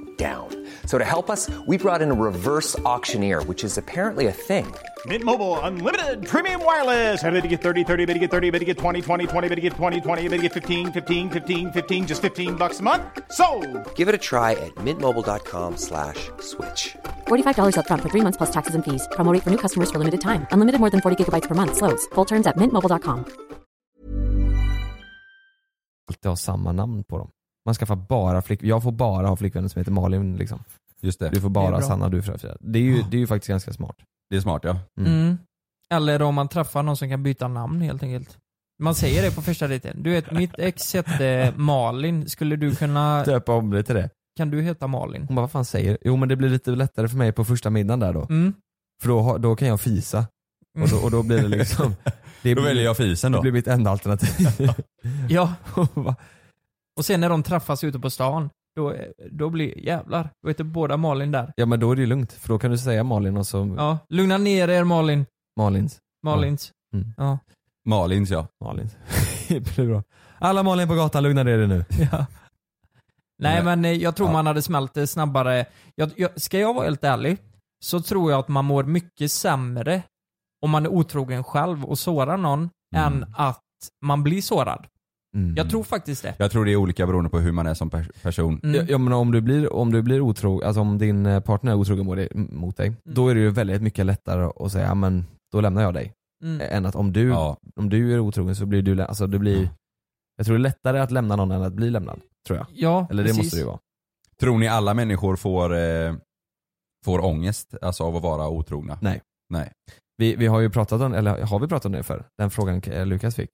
down. So to help us, we brought in a reverse auctioneer, which is apparently a thing. Mint Mobile unlimited premium wireless. Ready to get 30, 30, bit to get 30, bit to get 20, 20, 20, bit to get 20, 20, bit to get 15, 15, 15, 15 just 15 bucks a month. So, Give it a try at mintmobile.com slash switch. $45 up front for three months plus taxes and fees. Promo rate for new customers for limited time. Unlimited more than 40 gigabytes per month. Slows. Full terms at mintmobile.com. alltid ha samma namn på dem. Man skaffar bara flick, jag får bara ha flickvänner som heter Malin liksom. Just det. Du får Det är bara bra. Sanna, du får Frida. Det är ju, det är ju faktiskt ganska smart. Det är smart ja. Mm. Mm. Eller om man träffar någon som kan byta namn helt enkelt. Man säger det på första dejten. Du vet, mitt ex hette Malin. Skulle du kunna... Döpa om dig till det. Kan du heta Malin? Hon bara, vad fan säger du? Jo men det blir lite lättare för mig på första middagen där då. Mm. För då, har- då kan jag fisa. Och då, och då blir det liksom, det Då blir- väljer jag fisen det då. blir mitt enda alternativ. Ja. Hon bara, Och sen när de träffas ute på stan, då, då blir jävlar. Då heter båda Malin där. ja men då är det ju lugnt, för då kan du säga Malin och så Ja, lugna ner er Malin. Malins. Malins. Mm. Ja. Malins ja. Malin. det blir bra. Alla Malin på gatan, lugna ner er nu. Ja. Nej Nej. men eh, jag tror Ja. man hade smält det snabbare. Jag, jag, ska jag vara helt ärlig så tror jag att man mår mycket sämre om man är otrogen själv och sårar någon än att man blir sårad. Mm. Jag tror faktiskt det. Jag tror det är olika beroende på hur man är som pers- person. Mm. Ja, ja men om du blir, om du blir otrogen, alltså om din eh, partner är otrogen mot dig, mot Mm. dig då är det ju väldigt mycket lättare att säga "Ja, men då lämnar jag dig. Mm. Än att om du, Ja. om du är otrogen så blir du, lä- alltså det blir, jag tror det är lättare att lämna någon än att bli lämnad. Tror jag. Ja, Eller det precis. måste det ju vara. Tror ni alla människor får, eh, får ångest alltså av att vara otrogna? Nej. Nej. Vi, vi har ju pratat om, eller har vi pratat om det för Den frågan eh, Lukas fick.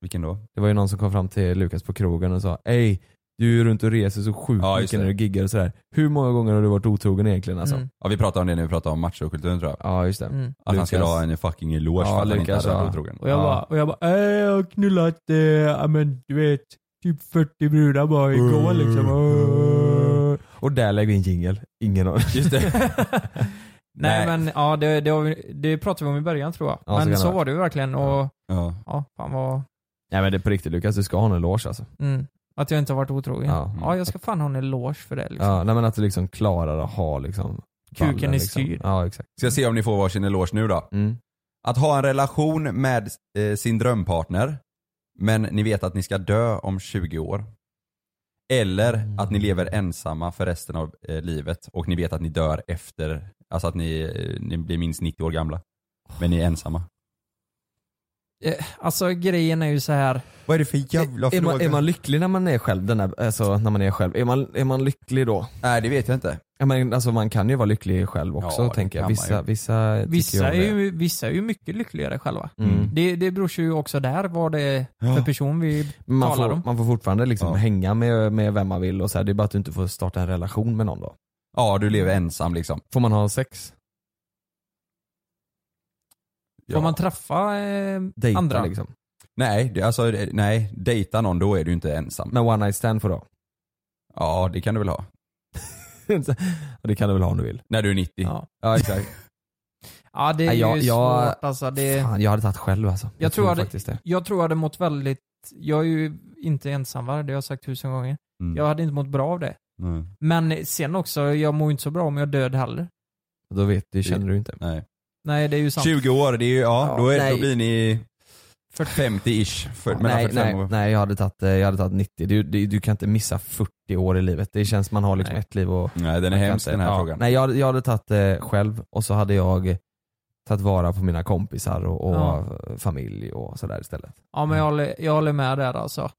Vilken då? Det var ju någon som kom fram till Lukas på krogen och sa Ej, du är ju runt och reser så sjukt Ja, just mycket när det. du giggar och sådär. Hur många gånger har du varit otrogen egentligen alltså? Mm. Ja vi pratade om det när vi pratade om machokulturen tror jag. Ja just det. Mm. Att han Lukas. skulle ha en fucking eloge Ja, för att han inte Lukas, hade ja. varit otrogen. Och jag Ja. bara, och jag bara äh, jag har knullat, eh, ja men du vet, typ 40 brudar bara igår liksom. Mm. Äh. Och där lägger vi in jingel. Ingen aning. Just det. Nej, Nej. men ja, det, det, har vi- det pratade vi om i början tror jag. Ja, så kan men det så, vara. var det ju verkligen och Ja. ja, fan vad... Nej men det är på riktigt Lukas, du ska ha en eloge alltså. Mm, att jag inte har varit otrogen. Ja. Ja. jag ska fan ha en eloge för det liksom. ja nej men att du liksom klarar att ha liksom Kuken ballen, är liksom. styrd. Ja exakt. Ska se om ni får varsin eloge nu då. Mm. Att ha en relation med eh, sin drömpartner men ni vet att ni ska dö om 20 år. Eller att ni lever ensamma för resten av eh, livet och ni vet att ni dör efter, alltså att ni, eh, ni blir minst 90 år gamla. Men ni är ensamma. Eh, Alltså grejen är ju så här. Vad är det för jävla Är fråga? man, är man lycklig när man är själv? Den där, alltså när man är själv. Är man, är man lycklig då? Nej det vet jag inte. Ja, men, alltså man kan ju vara lycklig själv också Ja, det tänker jag. kan man Vissa, ju. vissa, tycker Vissa jag är, om det. ju, vissa är ju mycket lyckligare själva. Mm. Det, det beror ju också där vad det är Ja. för person vi Men man, talar får, om. man får fortfarande liksom Ja. hänga med, med vem man vill och så här. Det är bara att du inte får starta en relation med någon då. Ja du lever ensam liksom. Får man ha sex? Får man träffa eh, Dejta andra? liksom. Nej, det, alltså, det- nej, dejta någon då är du ju inte ensam. Men one night stand får du ha? Ja, det kan du väl ha? det kan du väl ha om du vill? När du är 90? Ja, exakt. Ja det är Nej, jag- ju jag- svårt alltså. Det, Fan, jag hade tagit själv alltså. jag, tror jag, faktiskt hade, det. jag tror jag hade mått väldigt, jag är ju inte ensamvarg, det har jag sagt tusen gånger. Mm. Jag hade inte mått bra av det. Nej. Men sen också, jag mår ju inte så bra om jag är död heller. Då vet, det känner du inte. Nej. Nej det är ju sant. 20 år, det är ju, ja, Ja, då, är, nej. då blir ni 50-ish. För, mellan Nej, 45 nej, och... nej jag, hade tagit, eh, jag hade tagit 90. Du, du, du kan inte missa 40 år i livet. Det känns man har liksom ett liv och... Nej den är man kan hemsk inte- den här ja. frågan. Nej jag, hade- jag hade tagit eh, själv och så hade jag tagit vara på mina kompisar och, och Ja. familj och sådär istället. Ja men jag håller, jag håller med där alltså.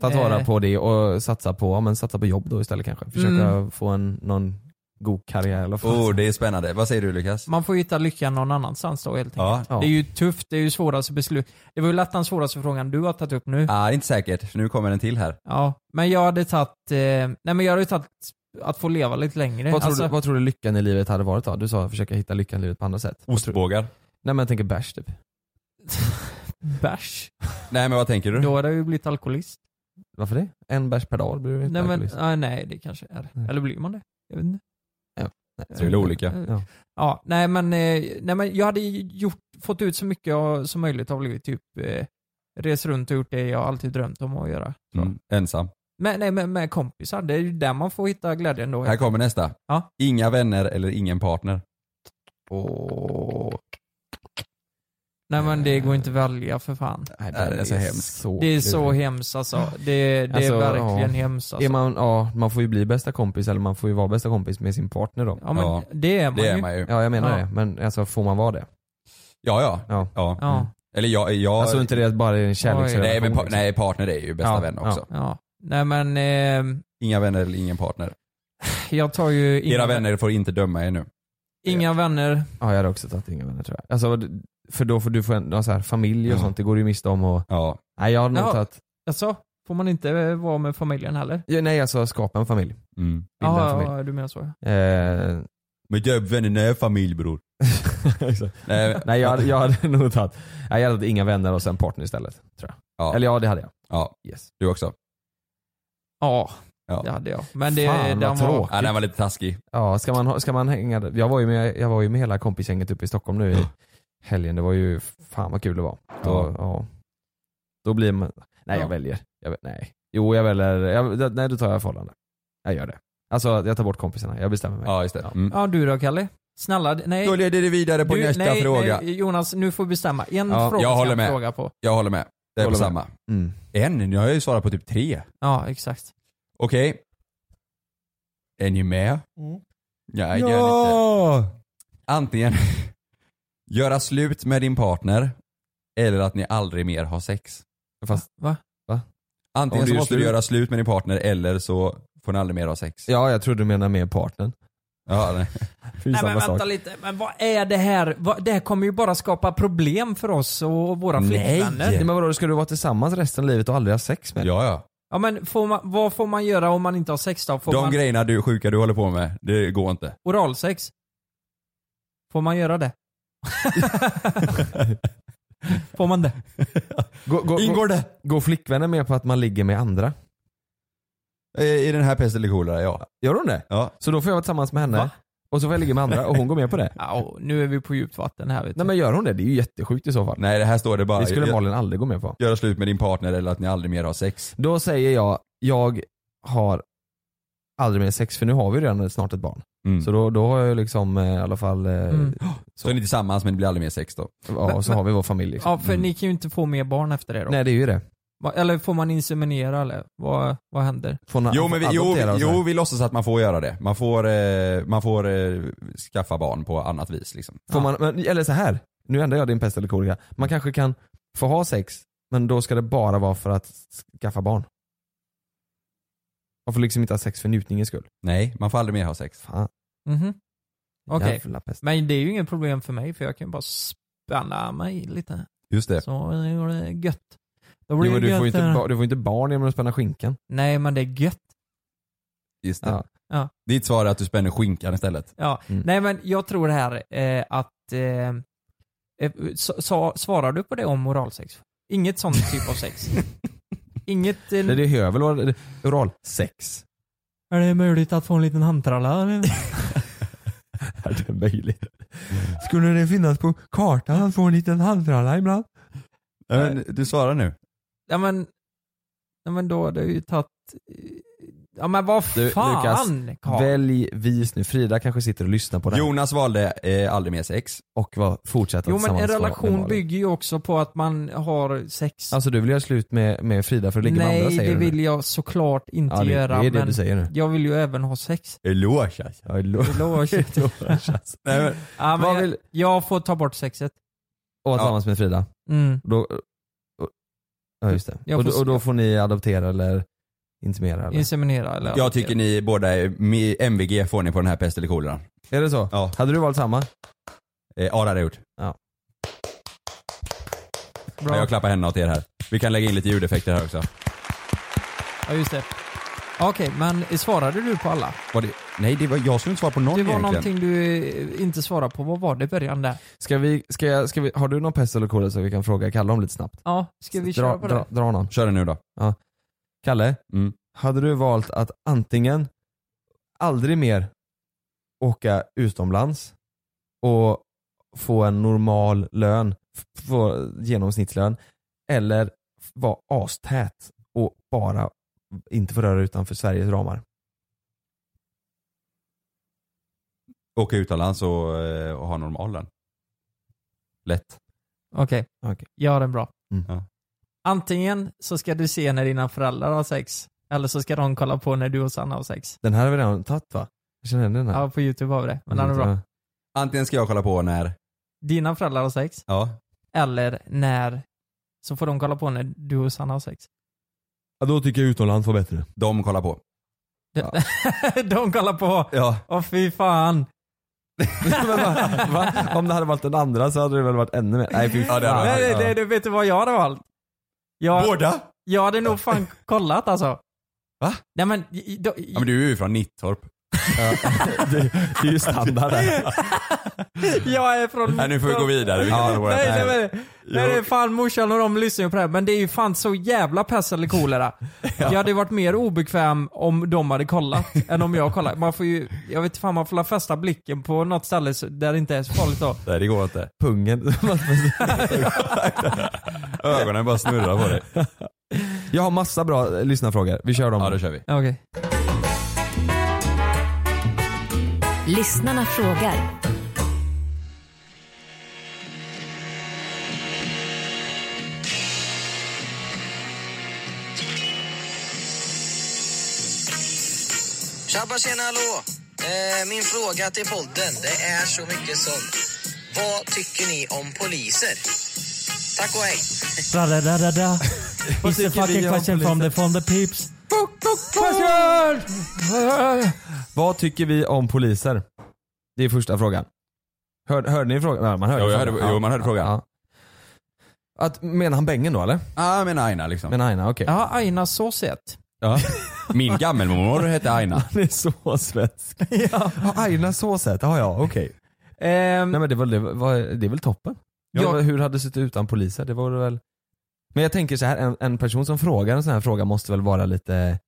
Tagit vara Eh, på det och satsa på, ja, men satsa på jobb då istället kanske. Försöka Mm. få en, någon god karriär eller Oh, det är spännande. Vad säger du Lukas? Man får ju hitta lyckan någon annanstans då helt Ja. enkelt. Det är ju tufft, det är ju svåraste beslut. Det var ju lätt den svåraste frågan du har tagit upp nu. Ah, det är inte säkert, för nu kommer en till här. Ja, men jag hade tagit, eh, nej men jag hade tagit att få leva lite längre. Vad tror, Alltså, du, vad tror du lyckan i livet hade varit då? Du sa försöka hitta lyckan i livet på andra sätt. Ostbågar? Nej men jag tänker bärs typ. Bärs? Nej men vad tänker du? Då hade jag ju blivit alkoholist. Varför det? En bärs per dag blir du inte Nej men, alkoholist. ah, nej det kanske är. Eller blir man det? Jag vet inte. Nej. Det är väl olika. Ja. Ja, nej men, eh, nej men jag hade ju gjort, fått ut så mycket av- som möjligt av livet. Typ eh, res runt och gjort det jag alltid drömt om att göra. Mm. Ensam. Men, nej, men med kompisar, det är ju där man får hitta glädjen då. Här kommer nästa. Ja. Inga vänner eller ingen partner. Åh. Nej men det går inte att välja för fan. Nej, Nej, den är så hemsk. det är så hemskt alltså. Det, det är verkligen ja. hemskt alltså. Är man, ja, man får ju bli bästa kompis eller man får ju vara bästa kompis med sin partner då. Ja, men det är man ju. Ja jag menar Ja. det. Men alltså får man vara det? Ja, ja. ja. Ja. Mm. Eller jag... jag... Alltså inte det att bara är en kärleksrelation? nej, men pa- liksom. nej, partner är ju bästa Ja, vän ja, också. Ja. Nej men, eh, Inga vänner eller ingen partner. jag tar ju inga, Era vänner får inte döma er nu. inga vänner. Ja jag hade också tagit inga vänner tror jag. Alltså, d- för då får du få en, ja, så här, familj och Ja. sånt, det går du ju miste om och... Ja. Nej jag hade nog Ja. tagit, Alltså, får man inte eh, vara med familjen heller? ja, nej alltså skapa en familj. Mm. Bilda en Ja, familj. ja, ja, du menar så. Eh, Men jag är vänner är familj bror. Exakt. Nej, Nej jag, hade- jag hade nog tagit, nej, jag hade tagit inga vänner och sen partner istället. Tror jag. ja. Eller ja det hade jag. ja. Yes. Du också? Ja, Ja. det hade jag. Men det, Fan, den vad var- tråkigt. Ja, den var lite taskig. Ja, ska man, ha- ska man hänga där? jag var, ju med, jag var ju med hela kompisgänget uppe i Stockholm nu i helgen. Det var ju, fan vad kul det var. Då, Ja. ja. Då blir man, nej Ja. jag väljer. Jag, vä- nej. Jo jag väljer, jag, nej då tar jag förhållande. Jag gör det. Alltså jag tar bort kompisarna, jag bestämmer mig. Ja, just det. Mm. Ja, du då Kalle? Snälla, nej. Då leder det vidare på du, nästa nej, fråga. Nej, Jonas, nu får du bestämma. En Ja, fråga jag ska håller jag med. fråga på. Jag håller med. Det är på Håller med. samma. Mm. En? Nu har jag ju svarat på typ tre. Ja, exakt. Okej. Är ni med? Nej, det är ni inte. Ja! Antingen göra slut med din partner eller att ni aldrig mer har sex. Fast, Va? Antingen Ja, det så måste måste du du- göra slut med din partner eller så får ni aldrig mer ha sex. ja jag tror du menar med partnern. Ja, nej. Det är Nej men samma vänta sak. lite, men vad är det här? Vad, det här kommer ju bara skapa problem för oss och våra Nej. flickvänner. Nej, men vadå, ska du vara tillsammans resten av livet och aldrig ha sex med? ja. ja. Ja men får man, vad får man göra om man inte har sex då? Får De man grejerna du sjuka du håller på med, det går inte. oralsex? Får man göra det? får man det? Gå, gå, Ingår gå, det? går flickvännen med på att man ligger med andra? Eh, I den här pest eller kolera, ja. Gör hon det? ja. Så då får jag vara tillsammans med henne Va? och så får jag ligga med andra och hon går med på det? Ja, och nu är vi på djupt vatten här vet du. Nej men gör hon det? Det är ju jättesjukt i så fall. Nej, det här står det bara. Det skulle Gö- Malin aldrig gå med på. Göra slut med din partner eller att ni aldrig mer har sex. Då säger jag, jag har aldrig mer sex för nu har vi redan snart ett barn. Mm. Så Så, då, då har jag ju liksom eh, i alla fall, eh, Mm. så är ni tillsammans men det blir aldrig mer sex då. ja, och så Men- har vi vår familj liksom. Ja för ni kan ju inte få mer barn efter det då. Nej det är ju det. Va- Eller får man inseminera eller? Vad, vad händer? Får na- Jo, men vi, jo, adoptera och så här. jo, vi låtsas att man får göra det. Man får, eh, man får eh, skaffa barn på annat vis liksom. Får man, men, eller så här. nu ändrar jag din pest eller kolera. Man kanske kan få ha sex, men då ska det bara vara för att skaffa barn. Man får liksom inte ha sex för njutningens skull. Nej, man får aldrig mer ha sex. Fan, Mhm. Okej. jävla pest. Men det är ju inget problem för mig för jag kan ju bara spänna mig lite. Just det. Så det är gött. Då Jo, blir men det du, gött. får ju inte, där. ba- du får ju inte barn genom att spänna skinkan. Nej men det är gött. Just det. Ja. Ja. Ditt svar är att du spänner skinkan istället. Ja, Mm. nej men jag tror det här eh, att eh, Eh, sa- sa- Svarar du på det om oralsex? Inget sån typ av sex? Inget... eh, Det, det hör väl or- oralsex? Är det möjligt att få en liten handtralla eller? Är det möjligt? Skulle det finnas på kartan att få en liten handtralla ibland? Ja, men du svarar nu. Ja men... Ja men då har du ju tagit... Ja men vad Du, fan Lukas, Karl? välj vis nu. Frida kanske sitter och lyssnar på det här. Jonas valde eh, aldrig mer sex. Och var, fortsätter Jo att men en sammanstå- med relation Malin. bygger ju också på att man har sex. Alltså du vill göra slut med, med Frida för att ligga med Nej andra säger det du nu. vill jag såklart inte Ja, det- det göra är det men du säger nu. jag vill ju även ha sex. Eloge alltså. Ja, eloge. Eloge. Eloge. alltså. Nej, men, Ja, men Vad jag, vill- jag får ta bort sexet. Och vara tillsammans med Frida. Mm. Då, och, ja just det. Jag Och, får då- och då får ni adoptera eller intimera eller? Inseminera eller? Jag tycker ni båda, är- mi- MVG får ni på den här pest eller koleran. Är det så? Ja. Hade du valt samma? Eh, ja det hade jag gjort. Ja. Bra. Ja, jag klappar händerna åt er här. Vi kan lägga in lite ljudeffekter här också. Ja just det. Okej, men svarade du på alla? Var det, nej, det var, jag skulle inte svara på någon Det var egentligen. någonting du eh, inte svarade på. Vad var det i början där? Ska vi, ska jag, ska vi, har du någon pest eller kolera så vi kan fråga Kalle om lite snabbt? Ja, ska vi dra, köra på dra, det? dra någon. Kör den nu då. Ja. Kalle, Mm. hade du valt att antingen aldrig mer åka utomlands och få en normal lön, f- få genomsnittslön, eller f- vara astät och bara inte få röra utanför Sveriges ramar? Åka utomlands och, eh, och ha normal lön. Lätt. Okej, Okej. jag har den bra. Mm. Ja. Antingen så ska du se när dina föräldrar har sex, eller så ska de kolla på när du och Sanna har sex. Den här har vi redan tagit va? Jag känner igen den här. Ja, på youtube har vi det. Men den är Mm. bra. Antingen ska jag kolla på när, Dina föräldrar har sex, ja. eller när så får de kolla på när du och Sanna har sex. Ja, då tycker jag utomlands var bättre. De kollar på. de kollar på, Ja. åh fy fan. Men va, va? Om det hade varit den andra så hade det väl varit ännu mer? Nej fy Ja, det hade Nej, fan. nej, Ja. nej, nej, vet du vad jag hade valt? Jag, Båda? jag hade nog fan kollat alltså. Va? Nej men, i- i- då, Ja, men du är ju från Nittorp. det, det är ju standard där. jag är från... Nej, nu får vi gå vidare. Vi kan Ja, hålla på Nej, det här. nej, nej, nej, det är fan morsan och de lyssnar ju på det här, men det är ju fan så jävla pest eller kolera. Jag hade varit mer obekväm om de hade kollat än om jag kollat. Man får ju, jag vet fan, man får la fästa blicken på något ställe så- där det inte är så farligt då. Nej, det går inte. Pungen. Ögonen bara snurrar på dig. Jag har massa bra eh, lyssnarfrågor. Vi kör dem. Ja, då kör vi. Ja, Okej. Lyssnarna frågar. Tjabba tjena hallå! Eh, min fråga till podden, det är så mycket som vad tycker ni om poliser? Tack och hej! Da, da, da, da, da. It's a fucking question from the, from the peeps. Question! Vad tycker vi om poliser? Det är första frågan. Hör, hörde ni frågan? Nej, man hörde Jo, jag frågan. hörde- jo, man hörde frågan. Att, menar han bängen då eller? Ah, men Aina liksom. Menar Aina, okej. Ja, Aina så sett. Ja. Min gammelmormor hette Aina. Han är så svensk. Ja. Ja, Aina så sett, ja ja okej. Ehm, Nej men det, var, det, var, det är väl toppen? Ja. Ja. Hur hade det sett ut utan poliser? Det vore väl... Men jag tänker så här, en, en person som frågar en sån här fråga måste väl vara lite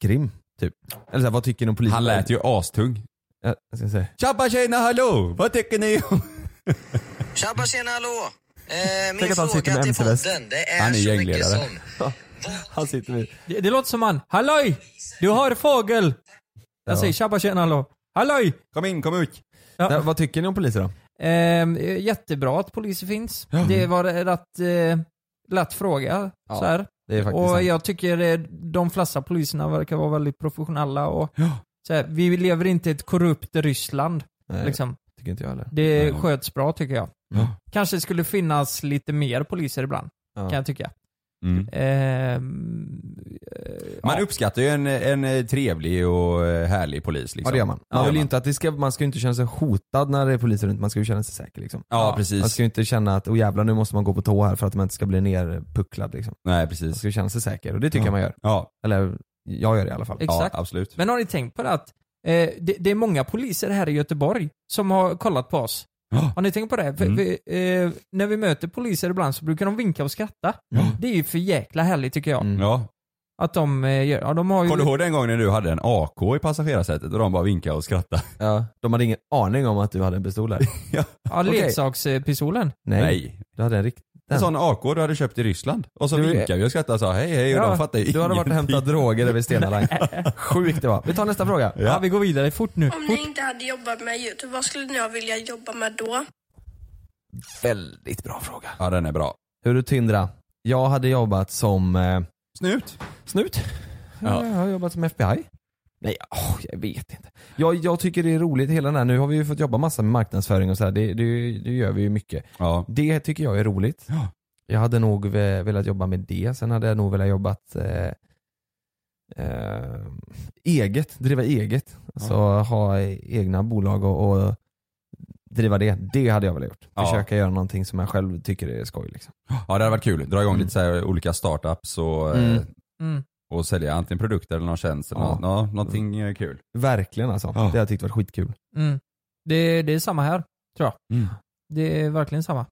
grim, typ. Eller så här, vad tycker ni om poliser? Han lät ju astung. Ja, jag ska se. Tjabba tjena hallå! Vad tycker ni om... Tjabba tjena hallå! Eh, min Tänk att han sitter fråga med till MC-väst. podden, det är, Han är så mycket gängledare. som Han sitter vid... det, det låter som han. Halloj! Du har fågel! Jag säger tjabba tjena hallå. Halloj! Kom in, kom ut. Ja. Nej, vad tycker ni om poliser då? Ehm, eh, jättebra att poliser finns. Det var en rätt eh, lätt fråga. Ja, så här. Det är faktiskt Och sant. jag tycker eh, de flesta poliserna verkar vara väldigt professionella. Och, så här, vi lever inte i ett korrupt Ryssland. Nej, Liksom. tycker inte jag heller. Det Nej. sköts bra tycker jag. Ja. Kanske skulle finnas lite mer poliser ibland, Ja. kan jag tycka. Mm. Ehm, eh, Man ja. uppskattar ju en, en eh, trevlig och härlig polis liksom. Ja det gör man. Man Ja, vill ju man. inte att det ska, man ska ju inte känna sig hotad när det är poliser runt, man ska ju känna sig säker liksom. Ja, Man precis. ska ju inte känna att, oh jävlar nu måste man gå på tå här för att man inte ska bli nerpucklad liksom. Nej, Man precis. ska ju känna sig säker och det tycker jag man gör. Ja, Eller jag gör det i alla fall. Exakt. ja absolut. Men har ni tänkt på det att eh, det, det är många poliser här i Göteborg som har kollat på oss. Har ni tänkt på det? För- Mm. för, eh, när vi möter poliser ibland så brukar de vinka och skratta. Det är ju för jäkla härligt tycker jag. Ja. Att de eh, gör, ja de har ju... Mm. Kommer du ihåg den gången när du hade en AK i passagerarsätet och de bara vinkade och skrattade? Ja, de hade ingen aning om att du hade en pistol här. Ja, leksakspistolen. Nej. Nej. Du hade en riktig. En sån AK du hade köpt i Ryssland. Och så Du- vinkade vi och skrattade och sa hej hej och Ja, de fattade Du hade varit och hämtat droger över Stena Line. Sjukt det var. Vi tar nästa fråga. Ja, vi går vidare fort nu. Om ni inte hade jobbat med Youtube, vad skulle ni vilja jobba med då? Väldigt bra fråga. Ja den är bra. Hur du Tindra? Jag hade jobbat som... Eh... Snut. Snut? Ja. Jag har jobbat som FBI. Nej, åh, jag vet inte. Jag, jag tycker det är roligt hela den här, nu har vi ju fått jobba massa med marknadsföring och sådär. Det, det, det gör vi ju mycket. Det tycker jag är roligt. Jag hade nog ve- velat jobba med det. Sen hade jag nog velat jobbat eh, eh, eget, driva eget. Alltså ha egna bolag och, och driva det. Det hade jag velat gjort. Ja. Försöka göra någonting som jag själv tycker är skoj. Liksom. Ja det hade varit kul. Dra igång lite så här olika startups och, eh, Mm. Mm. och sälja antingen produkter eller någon tjänst eller Ja. något, nå- någonting eh, kul. Verkligen alltså. Det hade jag tyckt varit skitkul. Mm. Det, det är samma här, tror jag. Det är verkligen samma.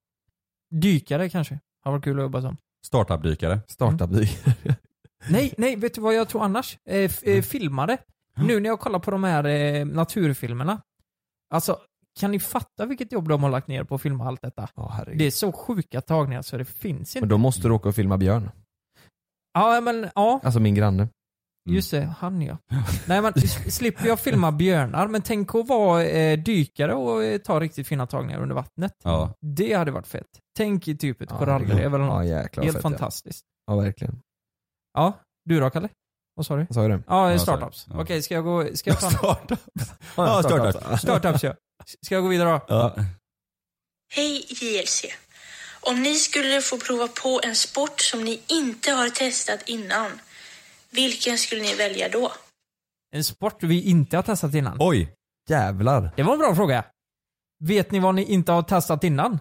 Dykare kanske, har varit kul att jobba som. Startup-dykare. Startup-dykare. Nej, nej, vet du vad jag tror annars? Eh, f- eh, filmare. Nu när jag kollar på de här eh, naturfilmerna. Alltså, kan ni fatta vilket jobb de har lagt ner på att filma allt detta? det är så sjuka tagningar så det finns Men inte. då måste du åka och filma björn. Ja, men ja. Alltså min granne. Mm. Just det, han ja. Nej men s- slipper jag filma björnar, men tänk att vara eh, dykare och eh, ta riktigt fina tagningar under vattnet. Ja. Det hade varit fett. Tänk i typ ett Ja, korallrev eller något. Ja, jäklar, vad Helt fett, ja. fantastiskt. Ja verkligen. Ja, du då Kalle? Vad sa du? Vad sa jag det? Ja, Ja, startups. sorry. Ja. Okej, ska jag gå... Ska jag ta... startups. Ja, startups. startups. startups ja. S- Ska jag gå vidare då? Ja. Hej JLC! Om ni skulle få prova på en sport som ni inte har testat innan, vilken skulle ni välja då? En sport vi inte har testat innan. Oj! Jävlar. Det var en bra fråga. Vet ni vad ni inte har testat innan?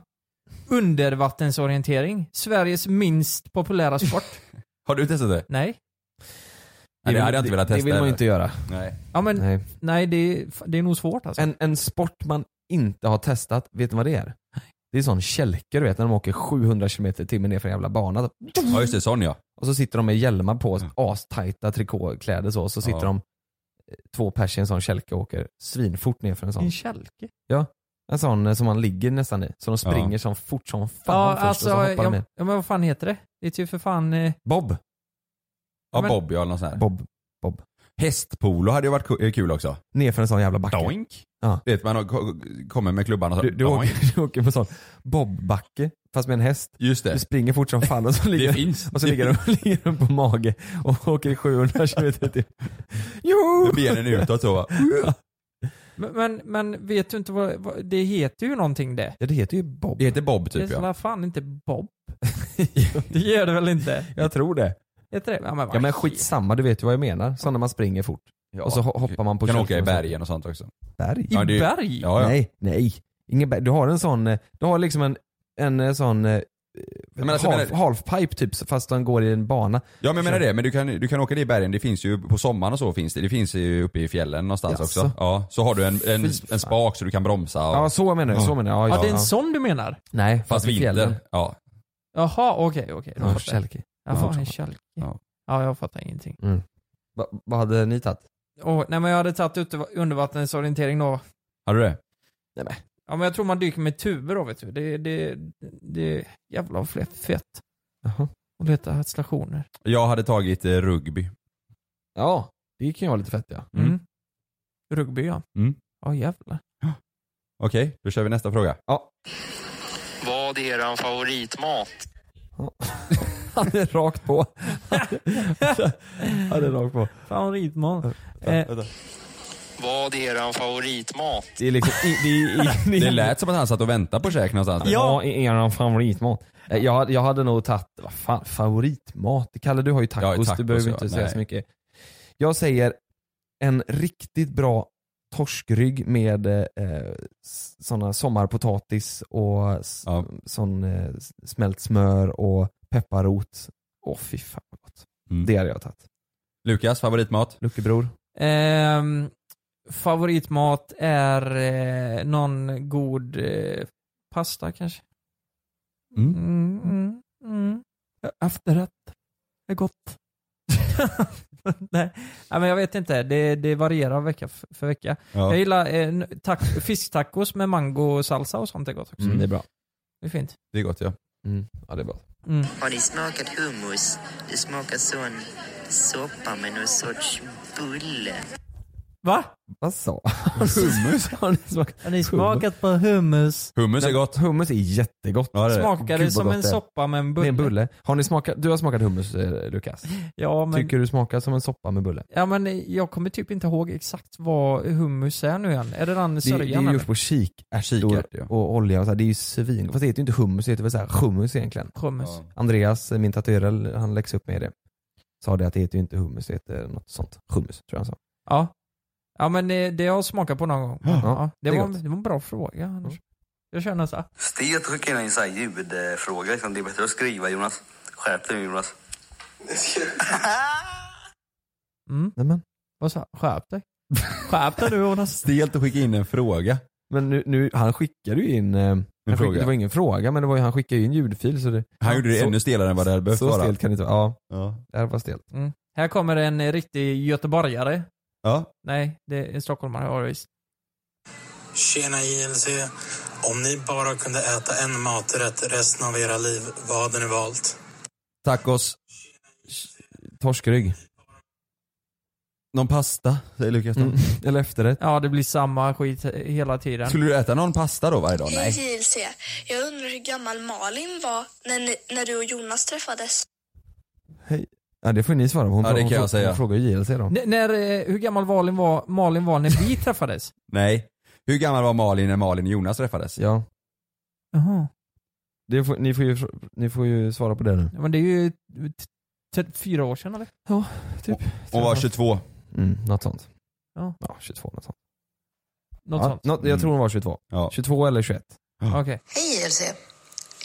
Undervattensorientering. Sveriges minst populära sport. Har du testat det? Nej. Nej, det vill- hade jag inte velat det- det testa. vill man ju heller. inte göra. Nej. Ja men, nej, Nej. det, är, det är nog svårt alltså. En, en sport man inte har testat, vet du vad det är? Det är sån kälke du vet när de åker 700 km i timmen ner för en jävla bana. Ja just det, sån ja. Och så sitter de med hjälmar på, astajta trikåkläder så, och så sitter Ja. de eh, två pers i en sån kälke och åker svinfort ner för en sån. En kälke? Ja, en sån eh, som man ligger nästan i. Så de springer Ja. som fort som fan Ja, först alltså, och så hoppar ja, de i. ja men vad fan heter det? Det heter ju för fan... Eh, Bob. Ja men- Bob ja, eller något sånt här. Bob. Bob. Hästpolo hade ju varit ku- eh, kul också. Ner för en sån jävla backe. Doink. Ja. Du vet man har- ko- kommer med klubban och så. Du, du, doink. åker, du åker på en sån bobbacke fast med en häst. Just det. Du springer fort som fan och så Det ligger, finns. och så ligger, de, ligger de på mage och åker 700 km i typ. Jo! Med benen utåt så. va? men, men, men vet du inte vad, vad... Det heter ju någonting det. Ja, det heter ju Bob. Det heter Bob Det är typ ja. sådär fan inte Bob. det gör det väl inte? Jag tror det. Heter det? Ja men, vad Ja men he- skitsamma, du vet ju vad jag menar. Sådana man springer fort. Och så ho- hoppar man på Kan kölken åka i och så. bergen och sånt också. Berg? Ja, det- I berg? Ja, ja. Nej, nej. Ingen berg. Du har en sån, eh, du har liksom en, en eh, sån eh, men alltså, jag half, menar- halfpipe typ så- fast den går i en bana. Ja men jag menar det, men du kan, du kan åka det i bergen, det finns ju på sommaren och så finns det, det finns ju uppe i fjällen någonstans Jaså? också. Ja, så har du en, en, Fy en spak så du kan bromsa och, Ja så menar jag, så menar jag. Ja, det är en sån du menar? Nej, fast i fjällen. vinter. Ja. Jaha, okej, okej. då Ja, fattar jag. kälke. Jaha, en kälke. Ja. Ja, jag fattar ingenting. Va- Vad hade ni tagit? Åh, nej men jag hade tagit ute- undervattensorientering då. Har du det? Ja men jag tror man dyker med tuber då vet du. Det, det, det är jävla fle- fett. Jaha. Och leta stationer. Jag hade tagit eh, rugby. Ja, det kan ju vara lite fett ja. Mm. Rugby ja. Mm. Ja jävlar. Okej, då kör vi nästa fråga. Ja. Vad är er favoritmat? Han är rakt på. Han är rakt på. Favoritmat. Eh, Vad är er favoritmat? Det är liksom, i, det är, i, Det lät som att han satt och väntade på käk någonstans. Ja, er favoritmat. Eh, Jag, jag hade nog tagit, vad fan, favoritmat? Kalle du har ju tacos, tacos, du behöver ja. inte säga Nej. så mycket. Jag säger en riktigt bra torskrygg med eh, s- såna sommarpotatis och s- Ja. sån eh, s- smält smör och pepparrot. Åh fy fan vad gott. Mm. Det hade jag tagit. Lukas, favoritmat? Luckebror. ehm, Favoritmat är eh, någon god eh, pasta kanske? Mm. Mm, mm, mm. Efterrätt. Det är gott. Nej. Nej, men jag vet inte. Det, det varierar vecka f- för vecka. Ja. Jag gillar eh, n- tac- fisktacos med mango och salsa och sånt är gott också. Mm, det är bra. Det är fint. Det är gott ja. Ja, det är bra. Har ni smakat hummus? Det smakar sån soppa med någon sorts bulle. Va? Vad sa Hummus? Har ni smakat, Har ni smakat på hummus? Hummus är gott. Hummus är jättegott. Ja, det är det. Smakar det Gud, vad som gott en det är. soppa med en Med en bulle? bulle. Har ni smakat, du har smakat hummus eh, Lukas? Ja, men- Tycker du smakar som en soppa med bulle? Ja men jag kommer typ inte ihåg exakt vad hummus är nu igen. Är det den Det, det är sörjan ju eller? gjort på kikärtor Kikärtor, ja. och olja och så här. det är ju svingott. Fast det heter ju inte hummus, det heter väl så här hummus egentligen. Hummus. Andreas, eh, min tatuerare, han läxade upp mig det. Sa det att det heter ju inte hummus, det heter något sånt. Hummus tror jag han sa. Ja. Ja men eh, det har jag smakat på någon gång. Ja, Ja, det, det är var, gott. Mm. det var en bra fråga Anders. Jag känner så här. Stig, jag tycker det är en sån här ljudfråga. Liksom. Det är bättre att skriva, Jonas. Skärp dig nu, Jonas. Mm. Nämen. Vad sa jag? Skärp dig. Skärp dig nu Jonas. Stelt att skicka in en fråga. Men nu, nu han skickade ju in, eh, han fråga. skickade, det var ingen fråga men det var, ju- han skickade ju en ljudfil så det Han gjorde det så- ännu stelare än vad det hade behövt Så vara. stelt kan det inte vara. Ja. Ja. Det här var stelt. Mm. Här kommer en eh, riktig göteborgare. Ja. Nej, det är en stockholmare har jag visst. Tjena JLC. Om ni bara kunde äta en maträtt resten av era liv, vad hade ni valt? Tacos. Torskrygg. Någon pasta, säger Lukas. Mm. Eller efterrätt. Ja det blir samma skit eh, hela tiden. Skulle du äta någon pasta då varje dag? Hej Nej. JLC. Jag undrar hur gammal Malin var när, ni, när du och Jonas träffades? Ja det får ni svara på. Hon, Ja, det hon, kan jag hon, säga. hon frågar ju JLC då. N- när, eh, hur gammal Malin var, Malin var när vi träffades? Nej. Hur gammal var Malin när Malin och Jonas träffades? Ja. Jaha. Det får, ni, får ju, ni får ju svara på det nu. Ja, men det är ju t- t- fyra år sedan eller? Ja, typ. Hon var 22. Mm, något sånt. Ja. Ja, 22 något sånt. Något ja, sånt. Mm. Något, jag tror hon var 22. 22 eller 21. Okej. Hej JLC.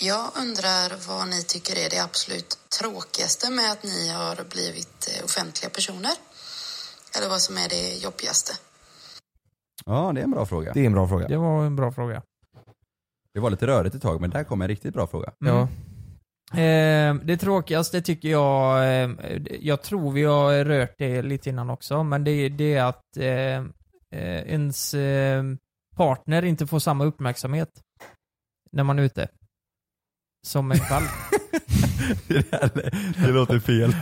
Jag undrar vad ni tycker är det absolut tråkigaste med att ni har blivit eh, offentliga personer? Eller vad som är det jobbigaste? Ja, det är en bra fråga. Det är en bra fråga. Det var en bra fråga. Det var lite rörigt ett tag men där kom en riktigt bra fråga. Mm. Eh, det tråkigaste tycker jag, eh, jag tror vi har rört det lite innan också, men det, det är att eh, eh, ens eh, partner inte får samma uppmärksamhet när man är ute. Som en kväll. Det låter fel.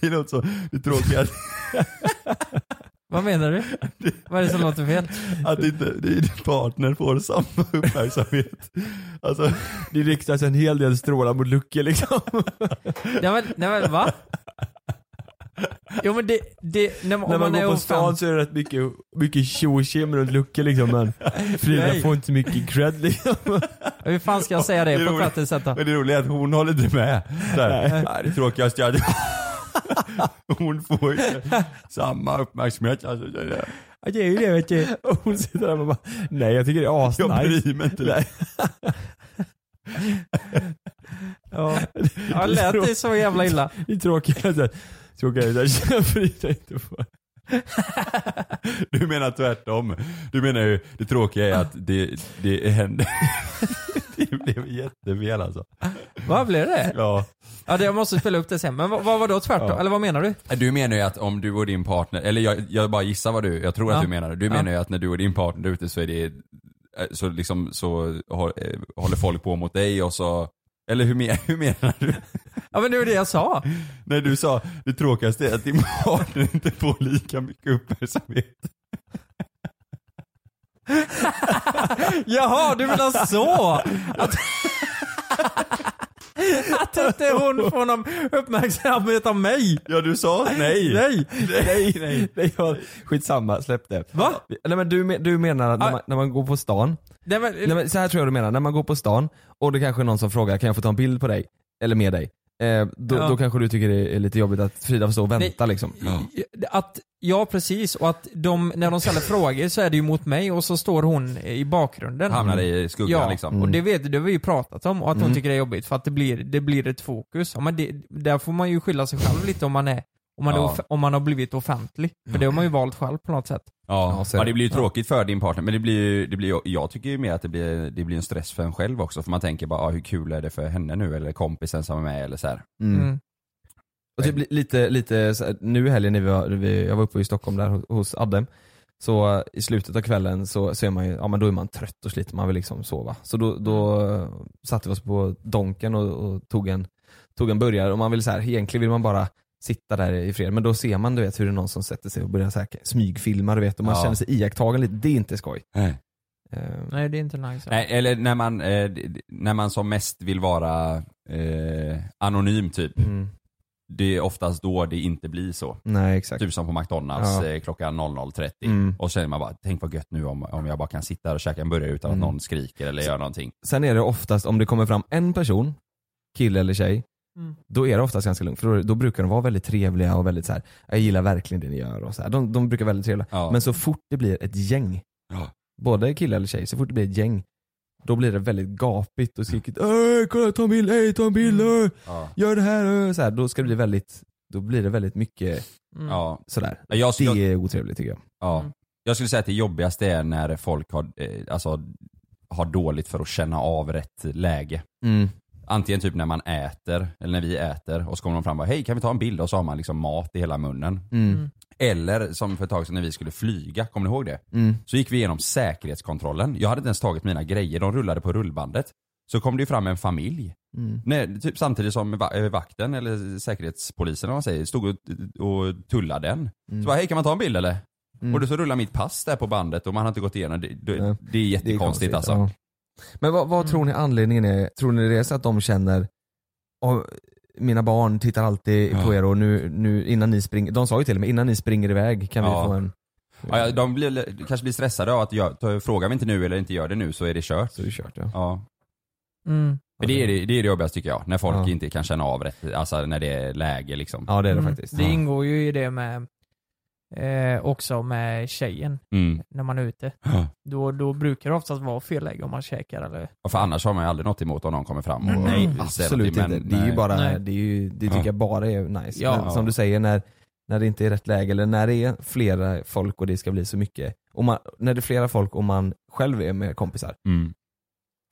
Det låter så, det tråkiga Vad menar du? Vad är det som låter fel? att inte din partner får samma uppmärksamhet. Alltså, det riktas en hel del strålar mot Lucke liksom. Nej men, nej, men va? Jo men det, det när, man, När om man, man är går på offentlig- stan så är det rätt mycket, mycket tjo och tjim runt Lucke liksom men Frida Nej. får inte så mycket cred liksom. Hur fan ska jag säga det, Det är på roligt. ett vettigt sätt då? Men det roliga är att hon håller inte med. Så här, Nej. "Nej, det tråkigaste jag hade... Hon får inte samma uppmärksamhet. Alltså, så där. Det är ju det vet du. Och hon sitter där och bara, nej jag tycker det är asnice. Jag bryr mig inte. Nej. Ja. Ja, lät det så jävla illa? Det är tråkigt. Tråkigt. Jag bryr mig inte på. Du menar tvärtom. Du menar ju det tråkiga är att det, det händer. Det blev jättefel alltså. Vad blev det? Ja. Ja, det, jag måste spela upp det sen. Men vad, vad var då tvärtom? Ja. Eller vad menar du? Du menar ju att om du och din partner, eller jag, jag bara gissar vad du, jag tror Ja. att du menar det. Du Ja. menar ju att när du och din partner är ute så är det, eh, så liksom så har- eh, håller folk på mot dig och så, eller hur, men- hur menar du? Ja men det var det jag sa. När du sa det tråkigaste är att din partner inte får lika mycket uppmärksamhet. Jaha, du menar så? Att, att inte hon får någon uppmärksamhet av mig? Ja du sa nej. Nej. Nej, nej, nej. jag- Skitsamma, släpp det. Va? Nej men du, men- du menar att när man, när man går på stan, Nej, men, nej, men, så här tror jag du menar, när man går på stan och det kanske är någon som frågar kan jag få ta en bild på dig? Eller med dig? Eh, då, Ja. då kanske du tycker det är lite jobbigt att Frida får stå och vänta liksom. Att, ja precis, och att de, när de ställer frågor så är det ju mot mig och så står hon i bakgrunden. Hamnar i skuggan, ja, liksom. och Mm. det vet det har vi ju pratat om och att hon Mm. tycker det är jobbigt för att det blir, det blir ett fokus. Ja, men det, där får man ju skylla sig själv lite om man är Om man, Ja. är, off- om man har blivit offentlig. För det har man ju valt själv på något sätt. Ja, så är ja det. det blir ju Ja. tråkigt för din partner men det blir ju, det blir, ju- jag tycker ju mer att det blir, det blir en stress för en själv också för man tänker bara ah, hur kul är det för henne nu eller kompisen som är med eller så här. Mm. Och typ li- lite, lite så här, nu i helgen när vi var, vi, jag var uppe i Stockholm där hos- hos Adde, så eh, i slutet av kvällen så, så är man ju, ja men då är man trött och sliten, man vill liksom sova. Så då, då eh, satte vi oss på Donken och, och tog en, tog en burgare och man vill så här, egentligen vill man bara sitta där i fred men då ser man du vet hur det är någon som sätter sig och börjar så här, smygfilma du vet och man Ja. känner sig iakttagen lite, det är inte skoj. Nej. Eh, Nej, det är inte nice. Nej, eller när man, eh, d- när man som mest vill vara eh, anonym typ. Det är oftast då det inte blir så. Nej exakt. Typ som på McDonalds Ja. eh, klockan 00.30 Mm. och så känner man bara, tänk vad gött nu om, om jag bara kan sitta här och käka en burgare utan Mm. att någon skriker eller gör någonting. Sen är det oftast, om det kommer fram en person, kille eller tjej, Mm. då är det oftast ganska lugnt. För då, då brukar de vara väldigt trevliga och väldigt så här. jag gillar verkligen det ni gör och så här. De, de brukar vara väldigt trevliga. Ja. Men så fort det blir ett gäng, både kille eller tjej, så fort det blir ett gäng, då blir det väldigt gapigt och skrikigt. Öh, kolla ta en bild, hej ta en bild, Mm. öh, Ja. gör det här, öh. så här. Då ska det bli väldigt, då blir det väldigt mycket Mm. Ja. sådär. Ja, jag- det jag- är otrevligt tycker jag. Ja. Jag skulle säga att det jobbigaste är när folk har, eh, alltså, har dåligt för att känna av rätt läge. Mm. Antingen typ när man äter, eller när vi äter, och så kommer de fram och bara hej kan vi ta en bild? Och så har man liksom mat i hela munnen. Mm. Eller som för ett tag sedan när vi skulle flyga, kommer ni ihåg det? Mm. Så gick vi igenom säkerhetskontrollen. Jag hade inte ens tagit mina grejer, de rullade på rullbandet. Så kom det ju fram en familj. Mm. Nej, typ samtidigt som va- eh, vakten eller säkerhetspolisen eller vad man säger, stod och, och tullade den. Mm. Så bara, hej kan man ta en bild eller? Mm. Och då så rullar mitt pass där på bandet och man har inte gått igenom det. Nej. Det, det är jättekonstigt konstigt, alltså. ja. Men vad, Mm. vad tror ni anledningen är? Tror ni det är så att de känner "Åh, mina barn tittar alltid på er och nu, nu innan ni springer, de sa ju till mig innan ni springer iväg kan Ja. vi få en... Ja, ja, de blir, de kanske blir stressade av att jag, ta- frågar vi inte nu eller inte gör det nu så är det kört. Så är det kört ja. ja. Mm. Men det, är det, det är det jobbigaste tycker jag, när folk Ja. inte kan känna av rätt, alltså när det är läge liksom. Ja det är det Mm. faktiskt. Det ingår ju i det med eh, också med tjejen Mm. när man är ute. Ja. Då, då brukar det oftast vara fel läge om man käkar eller... Och för annars har man ju aldrig något emot om någon kommer fram och Mm. säger Absolut någonting, inte. Det är ju nej. bara, Nej. det, är ju, det tycker Ja. jag bara är nice. Ja. Men, som du säger när, när det inte är rätt läge eller när det är flera folk och det ska bli så mycket. Och man, när det är flera folk och man själv är med kompisar Mm.